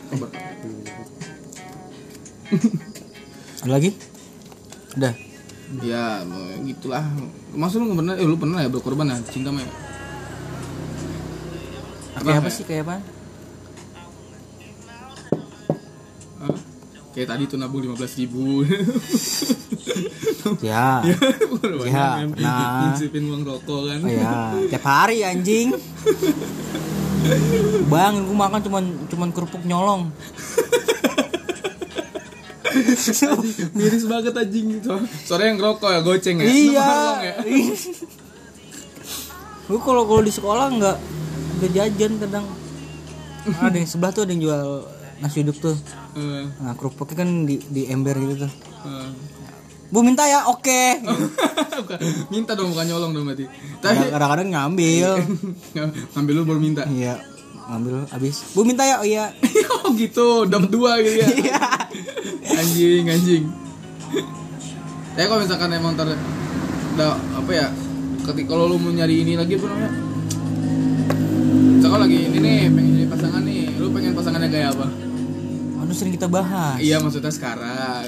A: Kabar.
B: ada lagi udah
A: ya mau- gitulah maksud lu nggak pernah eh lu pernah ya berkorban ya cinta mah ya? Pernah
B: kayak apa
A: ya?
B: sih kayak apa
A: Hah? kayak tadi tuh nabung lima belas ribu
B: ya Ya, pernah.
A: Nyicipin uang rokok kan
B: Oh ya, tiap hari anjing. Bang, gue makan cuman cuman kerupuk nyolong.
A: miris banget anjing so, sore yang rokok ya goceng ya
B: iya.
A: Lu malang ya?
B: Gue kalau kalau di sekolah nggak nggak jajan kadang. Ada yang sebelah tuh ada yang jual nasi uduk tuh.
A: Eh,
B: Nah, kerupuknya kan di, di ember gitu tuh.
A: eh.
B: Bu minta ya, oke.
A: Bukan, minta dong bukan nyolong dong berarti tapi
B: Kadang-kadang ngambil.
A: ambil lu baru minta
B: Iya, ngambil habis. Bu minta ya, oh iya.
A: oh gitu dapat dua gitu ya anjing anjing tapi kalau misalkan emang ter da, apa ya ketika kalau lu mau nyari ini lagi apa namanya misalkan lagi ini nih pengen nyari pasangan nih lu pengen pasangannya kayak apa
B: Aduh sering kita bahas.
A: iya maksudnya sekarang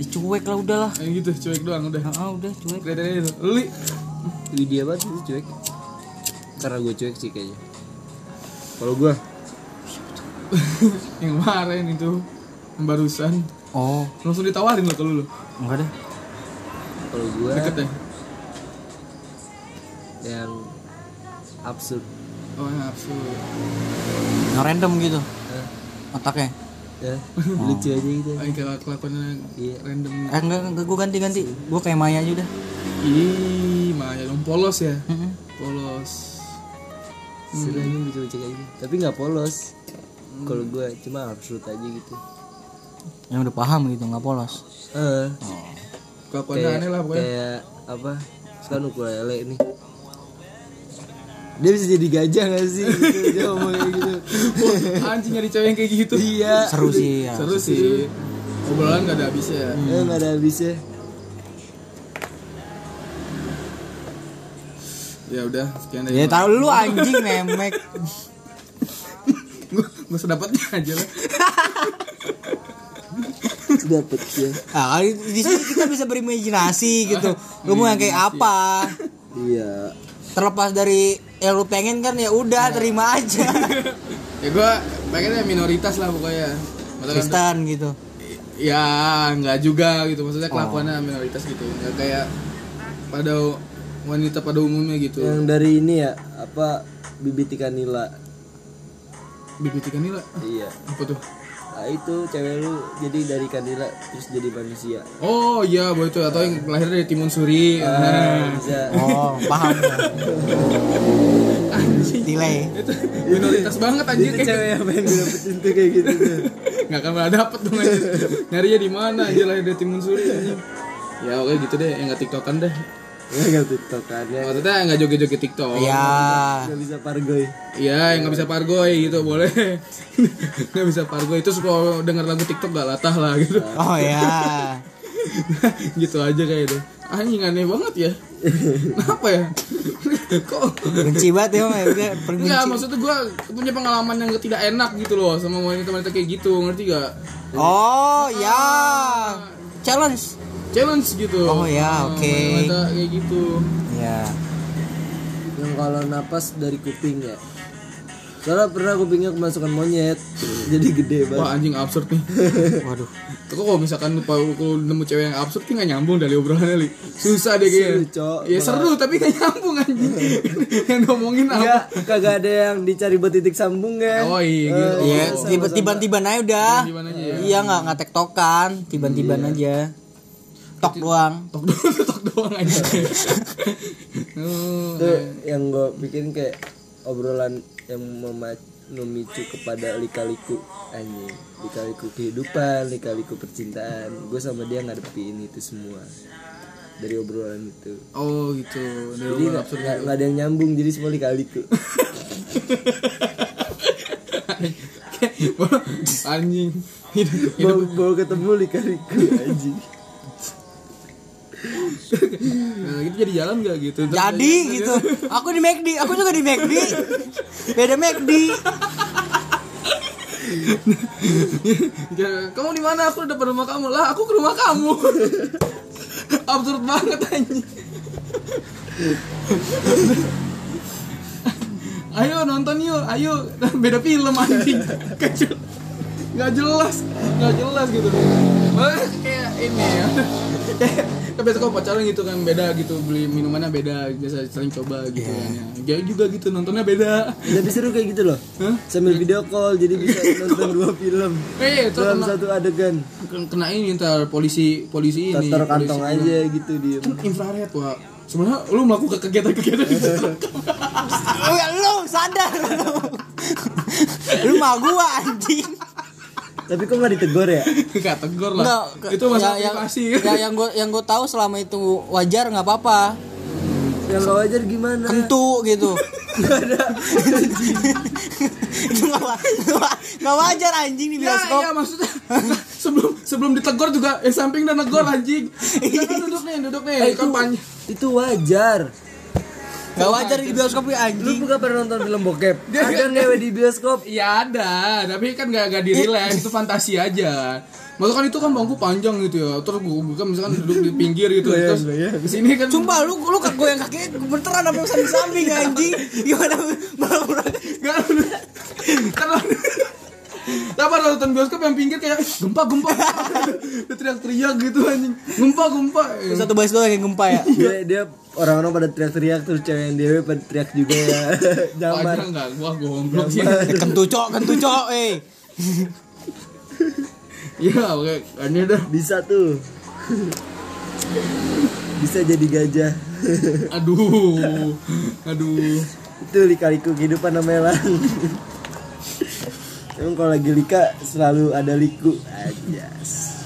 B: Ih, cuek lah udahlah.
A: Eh, gitu cuek doang udah
B: Ah, ah, udah cuek.
A: kriteria itu lu Li?
C: Di dia banget sih cuek Karena gue cuek sih kayaknya Kalau gue
A: yang kemarin itu yang barusan
B: Oh,
A: langsung ditawarin lo kalau lu
B: enggak deh.
C: Kalau gue
A: deket ya
C: yang absurd
A: oh nafsu
B: Yang random gitu
C: Hah?
B: otaknya.
C: ya, Lucu aja gitu
A: Ay, kalau kelakuannya
C: Iya.
A: random
B: Eh enggak, enggak gue ganti-ganti. Gue kayak Maya aja udah.
A: ih makanya dong polos ya
B: Mm-mm.
A: polos
C: Sudah ini lucu lucu aja Tapi gak polos Kalau gue cuma absurd aja gitu
B: Yang udah paham gitu, nggak polos.
C: Eh,
A: kelakuannya
C: kayak,
A: aneh lah pokoknya
C: kayak apa Kan Sekarang ukulele nih dia bisa jadi gajah gak sih? Gitu, dia ngomong kayak gitu.
A: anjing nyari cewek yang kayak gitu
C: Iya.
B: Seru sih ya.
A: seru sih obrolan gak ada habisnya ya
C: Eh, gak ada habisnya.
A: ya udah sekian
B: Ya
A: dari
B: tahu lu anjing nemek.
A: gue gue sedapatnya aja lah
C: Dapet ya.
B: Ah, kali di sini kita bisa berimajinasi gitu. Lu mau yang kayak apa?
C: Iya.
B: Terlepas dari yang lu pengen kan ya udah terima aja.
A: ya gue pengennya minoritas lah pokoknya Maksudnya kan-
B: Kristen gitu.
A: ya nggak juga gitu maksudnya
C: Oh.
A: kelakuannya minoritas gitu nggak kayak pada wanita pada umumnya gitu
C: Yang dari ini ya apa bibit ikan nila.
A: bibit ikan nila
C: Iya.
A: apa tuh
C: Nah, itu cewek lu jadi dari ikan nila terus jadi manusia.
A: oh iya buat itu atau yang lahir dari timun suri
C: Ah,
A: nah,
C: bisa.
B: Oh, paham. Delay.
A: itu minoritas banget anjir
C: Itu
A: kayak gitu.
C: cewek ya. yang pengen gue dapetin tuh kayak gitu tuh.
A: nggak akan pernah dapet dong anjir nyarinya di mana anjir lahir dari timun suri anjir ya oke gitu deh yang nggak tiktokan deh
C: Ya gak tiktokannya.
A: maksudnya nggak joget-joget tiktok
B: Ya.
C: Gak bisa pargoy.
A: Iya, yang nggak bisa pargoy gitu boleh. nggak bisa pargoy itu kalau denger lagu TikTok gak latah lah gitu.
B: Oh ya.
A: gitu aja kayak itu. Anjing aneh banget ya. Kenapa ya? Kok
B: Benci banget ya, Maya. Udah,
A: Enggak,
B: perbenci.
A: maksudnya gue punya pengalaman yang tidak enak gitu loh sama wanita-wanita kayak gitu, ngerti gak?
B: Oh ya, challenge.
A: Ah. Challenge gitu.
B: Oh, ya,
A: Nah,
B: oke.
A: Wanita kayak gitu.
B: Ya.
C: Yang kalau napas dari kuping ya. Soalnya pernah kupingnya kemasukan monyet. jadi gede
A: Wah
C: banget.
A: anjing absurd nih.
B: Waduh.
A: Kok kalau misalkan lu- kalau lu nemu cewek yang absurd tuh gak nyambung dari obrolannya li. Susah deh kayaknya.
C: Seru, Cok.
A: Ya seru tapi gak nyambung anjing. yang ngomongin apa?
C: Enggak, kagak ada yang dicari buat titik sambung ya.
A: Oh iya gitu.
B: Iya, tiba-tiba aja udah.
A: Tiba-tiban aja ya. Iya.
B: Iya nggak nggak tektokan, tiba-tiba aja. Tok doang.
A: Tok doang, tok doang aja. Oh,
C: itu yang gue bikin kayak obrolan yang mema- memicu kepada lika-liku anjing lika-liku kehidupan lika-liku percintaan gue sama dia ngadepin itu semua dari obrolan itu
A: oh gitu. Dari
C: jadi
A: obrolan
C: nggak
A: absurd
C: nggak- nggak ada yang nyambung jadi semua lika-liku
A: anjing hidup, hidup
C: baru, baru ketemu lika-liku Iya, anjing
A: Nah, gitu jadi jalan gak gitu Terus
B: Jadi
A: aja-
B: gitu. Aku di McD, aku juga di McD. Beda McD.
A: Ya, kamu di mana aku udah depan rumah kamu lah aku ke rumah kamu absurd banget anjing ayo nonton yuk ayo beda film anjing Nggak jel- nggak jelas nggak jelas gitu Makanya kayak ini ya kan biasa kalau pacaran gitu kan beda gitu beli minumannya beda biasa sering coba gitu
C: Iya.
A: kan ya. Dia juga gitu nontonnya beda
C: Jadi seru kayak gitu loh
A: Hah?
C: Sambil video call jadi bisa nonton dua film
A: eh itu
C: Dalam
A: kena,
C: satu adegan
A: kena ini ntar polisi polisi ini
C: Tatar
A: polisi
C: kantong aja gitu diem
A: kan infrared wah sebenarnya lu melakukan kegiatan-kegiatan di situ.
B: Oh ya lu sadar lu. Lu mah gua anjing.
C: Tapi kok gak ditegur ya?
A: nggak tegur lah
B: Enggak,
A: itu masalah
B: yang,
A: privasi
B: ya, yang gua yang gua tahu selama itu wajar nggak apa-apa.
C: Yang gak Ya, wajar gimana?
B: Kentu gitu. Itu nggak wa- nggak wa- nggak wajar anjing di
A: Ya,
B: bioskop.
A: ya, maksudnya sebelum sebelum ditegur juga eh samping dan negor anjing. Jangan duduk nih, duduk nih.
C: Eh,
A: Eh,
C: itu, itu wajar
B: Nggak wajar di bioskop ya
C: Lu
B: anjing.
C: bukan pernah nonton film bokep?
A: Dia-
C: Ada ngewe di bioskop
A: Ya ada, tapi kan gak, gak dirilis, itu fantasi aja. Maksudnya kan itu kan bangku panjang gitu ya. Terus gua buka misalkan duduk di pinggir gitu.
C: Bayang,
A: Terus
C: bayang.
A: di sini kan
B: Sumpah lu lu kak goyang kaki beneran sampai samping-samping ya, anjing. Gimana malah
A: Gak Karena Kan Kenapa ada nonton bioskop yang pinggir kayak gempa gempa Dia teriak-teriak gitu anjing Gempa gempa
B: Yang Satu baris doang yang gempa ya.
C: dia, dia orang-orang pada teriak-teriak terus cewek yang dewe pada teriak juga ya
A: Wajar
C: Jamar
A: gak gua goblok sih
B: Eh, kentu cok, kentu cok, eh.
A: Iya oke Ini dah
C: bisa tuh bisa jadi gajah
A: Aduh Aduh
C: itu lika-liku kehidupan namanya lang emang kalau lagi lika selalu ada liku aja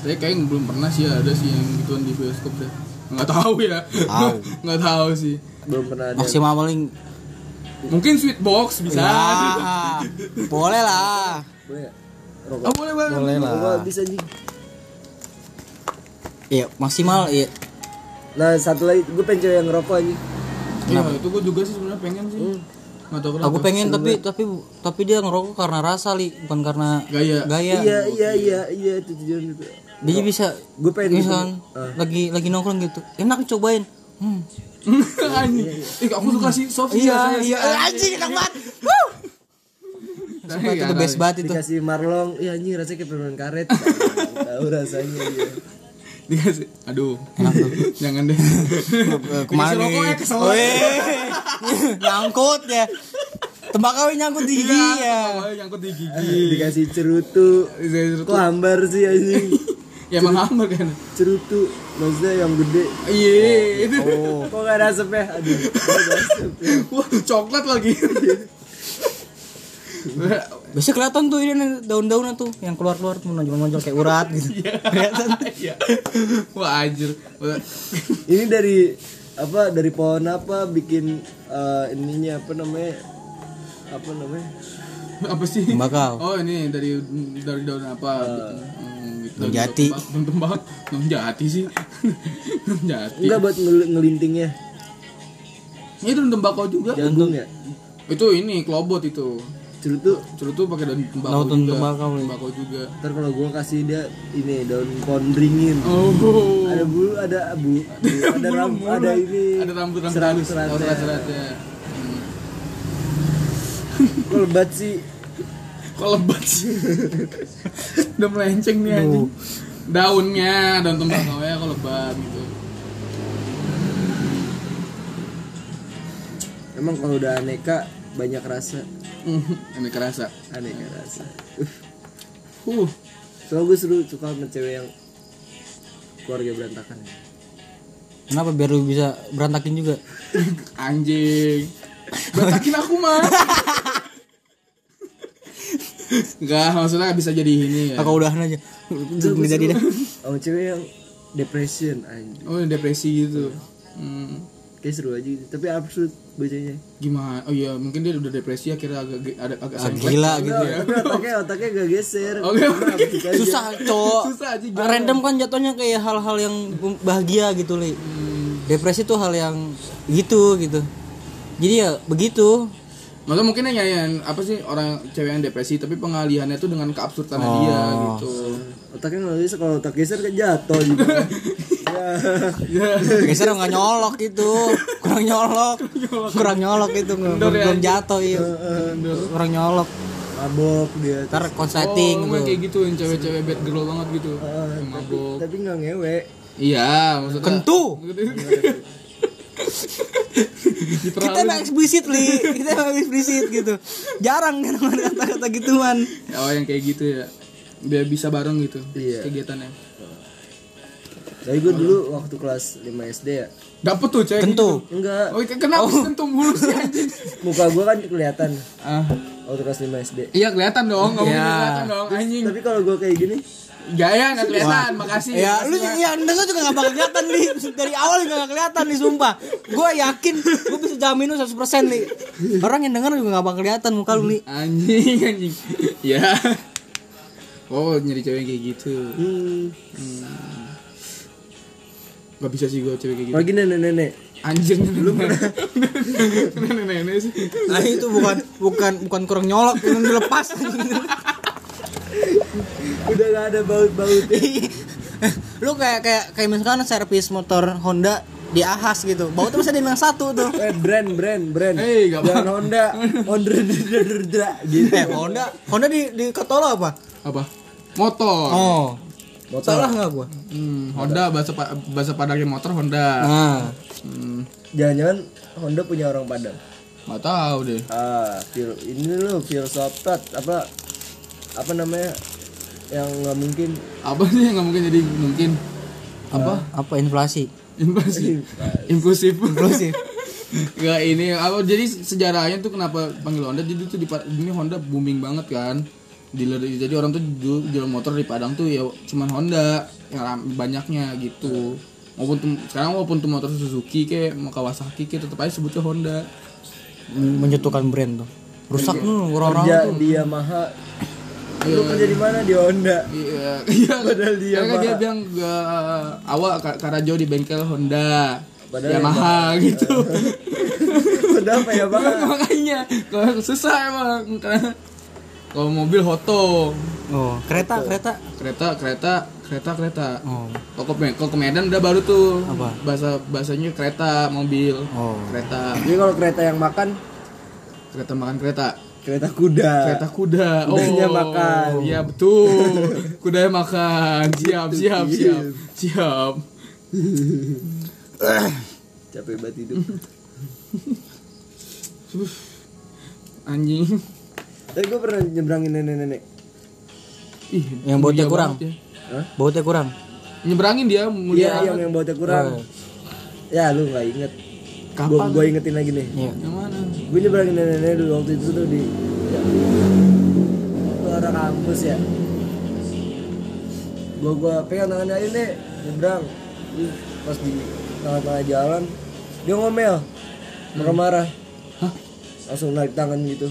A: Tapi kayaknya belum pernah sih ada sih yang gituan di bioskop deh Nggak tahu ya
B: Tahu.
A: Nggak tahu sih
C: belum pernah ada
B: Maksimal paling
A: Mungkin sweet box bisa
B: ya, boleh lah.
C: Boleh nggak? rokok
A: Oh, boleh boleh
B: Boleh
C: Rokok
B: lah.
C: habis anjing
B: Iya, maksimal iya.
C: nah satu lagi gue pengen cewek yang ngerokok anjing
A: Iya itu gua juga sih sebenarnya pengen sih Nggak tahu kenapa
B: Hmm. Aku pengen tapi tapi tapi dia ngerokok karena rasa li, bukan karena
A: Gaya.
B: Gaya.
C: iya iya iya iya itu tujuan itu
B: Dia bisa
C: Gua pengen gitu.
B: misalkan
C: Ah.
B: lagi lagi nongkrong gitu. Enak cobain. Hmm.
A: anjing Ih, aku suka sih soft sih
B: Iya,
A: rasanya sih.
B: iya. Eh, Anjing enak banget. Wuh.
A: Iya,
B: Sumpah itu the best banget itu.
C: dikasih marlong iya anjing rasanya kayak permen karet tahu rasanya iya
A: dikasih aduh jangan deh
B: Kemarin.
A: Dikasih
B: ya,
A: rokoknya
B: Oh,
A: kesel
B: iya. Nyangkut ya. Tembakau yang nyangkut di gigi ya.
A: Kepala Iya. nyangkut di gigi
C: dikasih cerutu kok hambar sih anjing
A: ya emang hambar kan
C: cerutu maksudnya yang gede
A: iya itu
C: oh, kok gak ada asapnya aduh kok ada asap ya?
A: wah coklat lagi
B: Biasanya kelihatan tuh ini nih, daun-daunnya tuh yang keluar-keluar tuh menonjol-menonjol kayak urat gitu. Kelihatan.
A: Iya. wah anjir
C: ini dari apa dari pohon apa bikin eh, ininya apa namanya apa namanya
A: apa sih
B: Tembakau.
A: oh ini dari dari daun apa Hmm, gitu.
B: Daun jati.
A: daun tembak daun jati sih daun jati
C: enggak buat ngel- ngelintingnya
A: ini daun tembakau juga
C: jagung ya
A: itu ini klobot itu
C: cerutu
A: cerutu pakai daun tembakau
B: Daun
A: juga
B: tembakau, iya.
A: tembakau juga
C: ntar kalau gua kasih dia ini daun pondringin
A: oh
C: ada bulu ada abu ada rambut ada ini
A: ada rambut rambut
C: serat
A: halus
C: serat
A: oh, serat seratnya
C: kok lebat sih
A: kok lebat sih udah melenceng nih anjing daunnya daun tembakau ya kok lebat gitu
C: emang kalau udah aneka banyak rasa
A: Mm, ini kerasa
C: aneka rasa
A: uh
C: soalnya gue seru suka sama cewek yang keluarga berantakan
B: Kenapa biar lu bisa berantakin juga?
A: anjing batakin aku mah Enggak, maksudnya bisa jadi ini ya.
B: Aku udahan aja. Nggak jadi dah.
C: sama cewek yang depression anjing
A: Oh, depresi gitu. Hmm.
C: kayak seru aja gitu. tapi absurd bacanya
A: gimana oh iya mungkin dia udah depresi akhirnya agak ge- ada agak
B: Ah,
A: sengklek.
B: gila gitu
C: Enggak, tapi otaknya otaknya gak geser
A: Oke, oke.
C: Nah, gitu aja.
B: Iya. susah cowok
A: Susah, anjing, gimana?
B: random kan jatuhnya kayak hal-hal yang bahagia gitu li
A: Hmm.
B: depresi tuh hal yang gitu gitu jadi ya begitu
A: Maka mungkin ya yang apa sih orang cewek yang depresi tapi pengalihannya tuh dengan keabsurdan dia gitu.
C: otaknya nggak geser kalau otak geser kan jatuh juga ya
A: Ya.
B: geser nggak nyolok itu kurang nyolok kurang nyolok itu nggak-
A: Kendor ya,
B: belum jatuh iya kurang nyolok
C: mabok dia
B: ntar
A: Oh,
B: konsleting
A: emang
B: gitu.
A: kayak gitu yang cewek-cewek bad girl banget gitu. Yang mabok.
C: tapi nggak ngewe
A: Iya, maksudnya.
B: kentu kita
A: Diterlaluin.
B: emang eksplisit li kita emang eksplisit gitu jarang kan kata-kata gituan
A: Oh, yang kayak gitu ya. Biar bisa bareng gitu
C: Iya.
A: kegiatannya.
C: tapi gue dulu waktu kelas 5 SD ya
A: Dapet tuh cewek.
B: kentu
A: gitu.
C: enggak
A: Oh, ke- kenapa kentu mulu sih anjing?
C: muka gue kan kelihatan
A: Ah,
C: waktu kelas 5 SD
A: iya kelihatan dong, ngomongin
B: Iya.
A: kelihatan dong anjing.
C: tapi kalau gue kayak gini
A: Gaya Iya, nggak kelihatan, makasih.
B: Ya, lu ya Nesa juga gak bakal kelihatan nih. Dari awal juga gak kelihatan nih, sumpah. Gue yakin, gue bisa jamin lu 100% nih. Orang yang denger juga gak bakal kelihatan muka lu nih.
A: Anjing, anjing. ya. Oh, nyari cewek kayak gitu.
C: hmm,
A: Gak bisa sih gue cewek kayak gitu.
C: lagi nenek-nenek
A: Anjing lu nenek-nenek sih.
B: Nah, itu bukan bukan bukan kurang nyolok, itu dilepas.
C: udah gak ada baut-baut
B: lu kayak kayak kayak misalkan servis motor Honda di ahas gitu. Bau tuh bisa dibilang satu tuh.
C: eh brand brand brand
A: Eh, nggak
C: jangan
A: apa.
C: Honda Honda gitu
B: Eh, Honda, Honda di di Katola apa?
A: Apa? Motor.
B: Oh.
C: Motor.
B: Salah nggak gua?
A: Hmm, Honda bahasa pa- bahasa Padangnya motor Honda.
B: Nah,
A: Hmm,
C: jangan-jangan Honda punya orang Padang
A: gak tahu deh.
C: ah fil ini lo filsafat apa apa namanya yang nggak mungkin
A: Apa sih yang nggak mungkin jadi mungkin? Apa?
B: apa inflasi?
A: Impulsif. Impulsif.
B: Inklusif.
A: Gak ini apa jadi sejarahnya tuh kenapa panggil Honda jadi tuh di Pa- ini Honda booming banget kan. Dealer jadi orang tuh jual, jual motor di Padang tuh ya cuman Honda yang ram- banyaknya gitu. Maupun tuh- sekarang maupun tuh motor Suzuki kayak mau Kawasaki kayak tetap aja sebutnya Honda.
B: menjatuhkan brand tuh. Rusak tuh orang-orang
C: kerja
B: tuh.
C: di Yamaha lo kerja di mana di Honda
A: Iya, iya.
C: Padahal dia
A: Karena kan dia
C: Yamaha.
A: bilang gak awal Ka- Karajo di bengkel Honda.
C: Padahal
A: Yamaha gitu.
C: Honda apa ya, Yamaha
A: Makanya kalau susah emang karena kalau mobil hoto,
B: Oh, kereta, kereta.
A: kereta kereta kereta kereta.
B: Oh.
A: Kalau ke, Med- kalau ke Medan udah baru tuh
B: Apa?
A: bahasa bahasanya kereta mobil
B: Oh.
A: kereta
C: jadi kalau kereta yang makan
A: kereta makan kereta
C: kereta kuda
A: kereta kuda
C: Kudanya makan.
A: iya betul kudanya makan siap siap siap siap
C: capek banget hidup
A: anjing
C: tapi gue pernah nyebrangin nenek-nenek
A: Ih,
B: Yang botnya
A: mulia
B: kurang.
A: banget ya.
B: Bautnya kurang.
A: nyebrangin dia mulia
C: iya yang
A: banget.
C: yang bautnya kurang
B: Oh.
C: ya lu nggak inget gue
A: kapan
C: gue ingetin lagi nih
B: Iya.
A: yang mana
C: gue nyebrangin nenek-nenek dulu waktu itu tuh di ya, ke arah kampus ya gue gue pegang tangannya ini nih nyebrang Terus pas di tengah-tengah jalan dia ngomel marah-marah
A: Hah?
C: langsung naik tangan gitu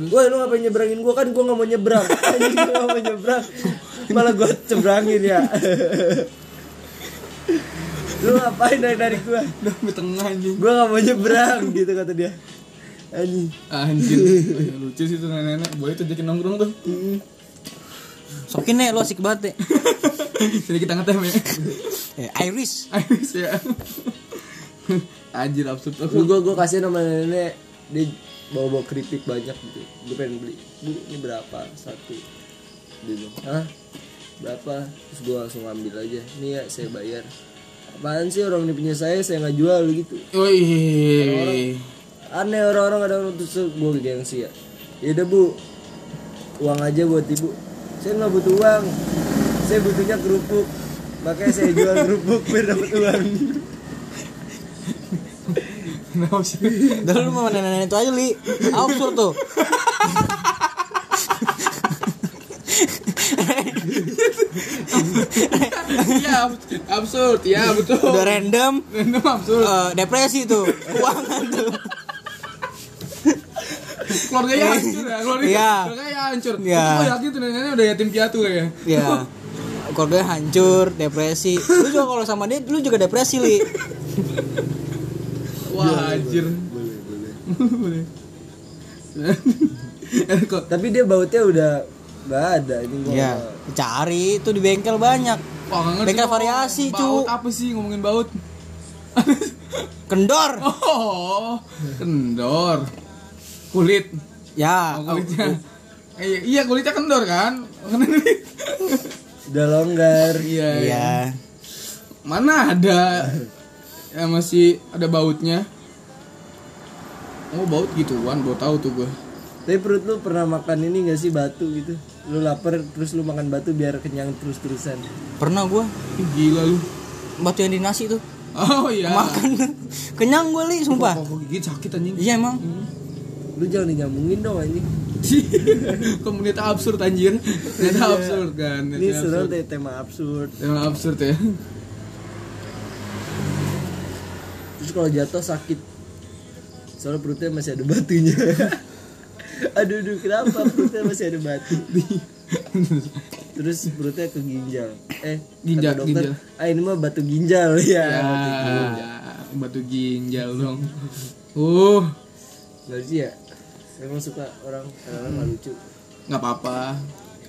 C: Woi lu ngapain nyebrangin gua kan gua nggak mau nyebrang Anjing gua nggak mau nyebrang Malah gua cebrangin ya Lu ngapain narik-narik gua
A: udah di tengah anjing
C: Gua nggak mau nyebrang gitu kata dia Anjing
A: anjing Oh, ya, lucu sih tuh nenek-nenek boleh tuh jadi nongkrong tuh
B: Sokin nih lo asik banget deh.
A: jadi kita ngetem ya
B: Eh, Iris.
A: Iris ya anjir absurd
C: Lu
A: absurd
C: gua gua kasih nama nenek dia bawa bawa keripik banyak gitu. Gua pengen beli. Bu ini berapa? Satu. Dia bilang, Hah? Berapa? Terus gua langsung ambil aja. Nih ya saya bayar. Apaan sih orang ini punya saya saya nggak jual gitu.
A: wih
C: Aneh orang-orang ada orang tusuk gua gengsi ya. Ya udah bu, uang aja buat ibu. Saya nggak butuh uang. Saya butuhnya kerupuk. Makanya saya jual kerupuk biar dapat uang.
A: kenapa sih
B: Dahulu lu mau nenek-nenek itu aja, Li. Absurd tuh.
A: Iya, abs- absurd. Ya, betul.
B: udah random
A: Random absurd.
B: eh, depresi tuh keuangan tuh
A: Keluarganya hancur ya. Keluarga,
B: Iya.
A: Keluarganya hancur.
B: Iya.
A: Itu gua yakin tuh neneknya udah yatim piatu kayaknya. Iya.
B: ya keluarganya hancur depresi lu juga kalau sama dia lu juga depresi li
A: Wah, anjir.
C: boleh boleh
A: iya, Boleh. Kok
C: tapi dia bautnya udah nggak ada ini gua
A: Iya.
B: ya cari itu di bengkel banyak
A: Wah, nggak ngerti
B: Bengkel
A: gua.
B: variasi, cu.
A: Baut apa sih ngomongin baut?
B: kendor
A: Oh, kendor. Kulit.
B: ya
A: Oh, kulitnya. Iya, iya, kulitnya kendor kan?
C: udah longgar
A: Iya. iya.
B: ya
A: Mana ada ya, masih ada bautnya? Oh, baut gituan, baru tahu tuh gue.
C: tapi perut lu pernah makan ini gak sih batu gitu lu lapar terus lu makan batu biar kenyang terus terusan
B: pernah gua
A: Ih, Gila lu.
B: batu yang di nasi tuh
A: Oh iya. Ah.
B: makan kenyang gua li sumpah
A: Kok gigi sakit anjing.
B: iya emang
C: lu jangan nyambungin dong anjing
A: Komunitas absurd anjir. Ternyata absurd kan.
C: Iya. ini
A: ternyata
C: seru
A: absurd.
C: deh tema absurd
A: Emang absurd ya.
C: terus kalau jatuh sakit soalnya perutnya masih ada batunya aduh aduh kenapa perutnya masih ada batu terus perutnya ke ginjal eh
A: Ginjal,
C: kata dokter
A: ginjal.
C: ah ini mah batu ginjal ya
A: ya,
C: batu ginjal.
A: batu ginjal dong. Uh,
C: nggak lucu ya emang suka orang kadang-kadang nggak lucu
A: nggak apa-apa.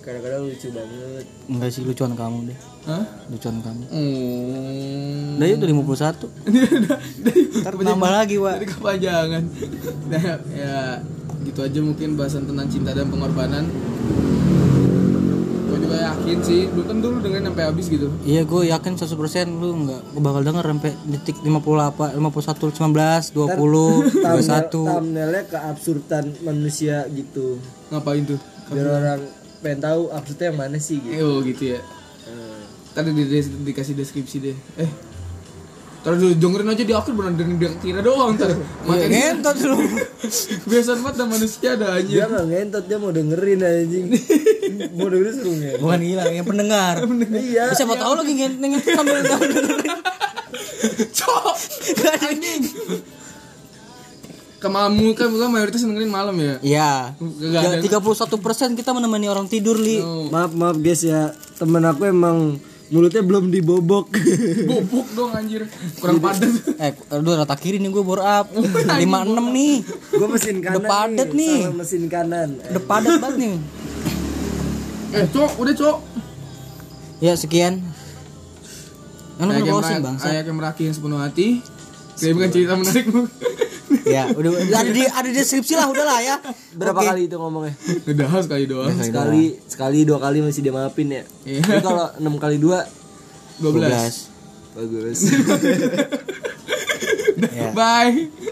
C: kadang-kadang lucu banget
B: enggak sih lucuan kamu deh
A: Hah?
B: lucuan kamu
A: Hmm.
B: udah udah 51 ntar nambah lagi wa
A: Jadi kepanjangan. Nah, ya gitu aja mungkin bahasan tentang cinta dan pengorbanan. Gue juga yakin sih, lu kan dulu dengerin sampai habis gitu.
B: Iya gue yakin 100% lu nggak bakal denger sampai detik 58, 51, 19, 20,
C: thumbnail
B: 21
C: thumbnailnya keabsurdan manusia gitu
A: Ngapain tuh?
C: biar orang pengen tahu absurdnya yang mana sih gitu
A: Eh, oh gitu ya.
C: Eh,
A: Tadi di, di- dikasih deskripsi deh. Eh. Ntar dulu dengerin aja di akhir bener dengerin dia kira doang ntar.
B: Iya,
A: Makanya
B: Ngentot lu
A: biasa banget sama manusia ada
C: dia
A: aja.
C: nggak ngentot dia mau dengerin anjing mau dengerin seru nggak
B: Bukan gila, yang pendengar
C: iya
B: Siapa tahu lagi ngentot ngentot sambil dengerin.
A: Cok. Kemamu kan bukan mayoritas dengerin malam ya.
B: Iya
A: Nggak
B: Ya,
A: ada-
B: 31% kita menemani orang tidur li
A: Oh.
C: maaf maaf guys ya temen aku emang mulutnya belum dibobok
A: Bobok dong anjir. Kurang padat.
B: Eh aduh rata kiri nih gue bore up 56 nih
C: gue mesin kanan
B: padet nih.
C: Salah mesin kanan
B: Udah padat banget nih
A: Eh, Cok, udah Cok.
B: Ya sekian Kan lu
A: Saya
B: udah
A: akan
B: closing
A: meraki-
B: bangsa
A: saya akan meraki yang sepenuh hati. Kirimkan cerita menarikmu.
B: Ya udah ada di ada di deskripsi lah udahlah ya
C: berapa
B: Oke.
C: kali itu ngomongnya
A: Udah sekali doang.
C: sekali sekali dua kali masih dia maafin ya
A: Iya.
C: Tapi kalau enam kali dua
A: 12.
B: 12.
C: bagus
B: Ya.
A: Bye.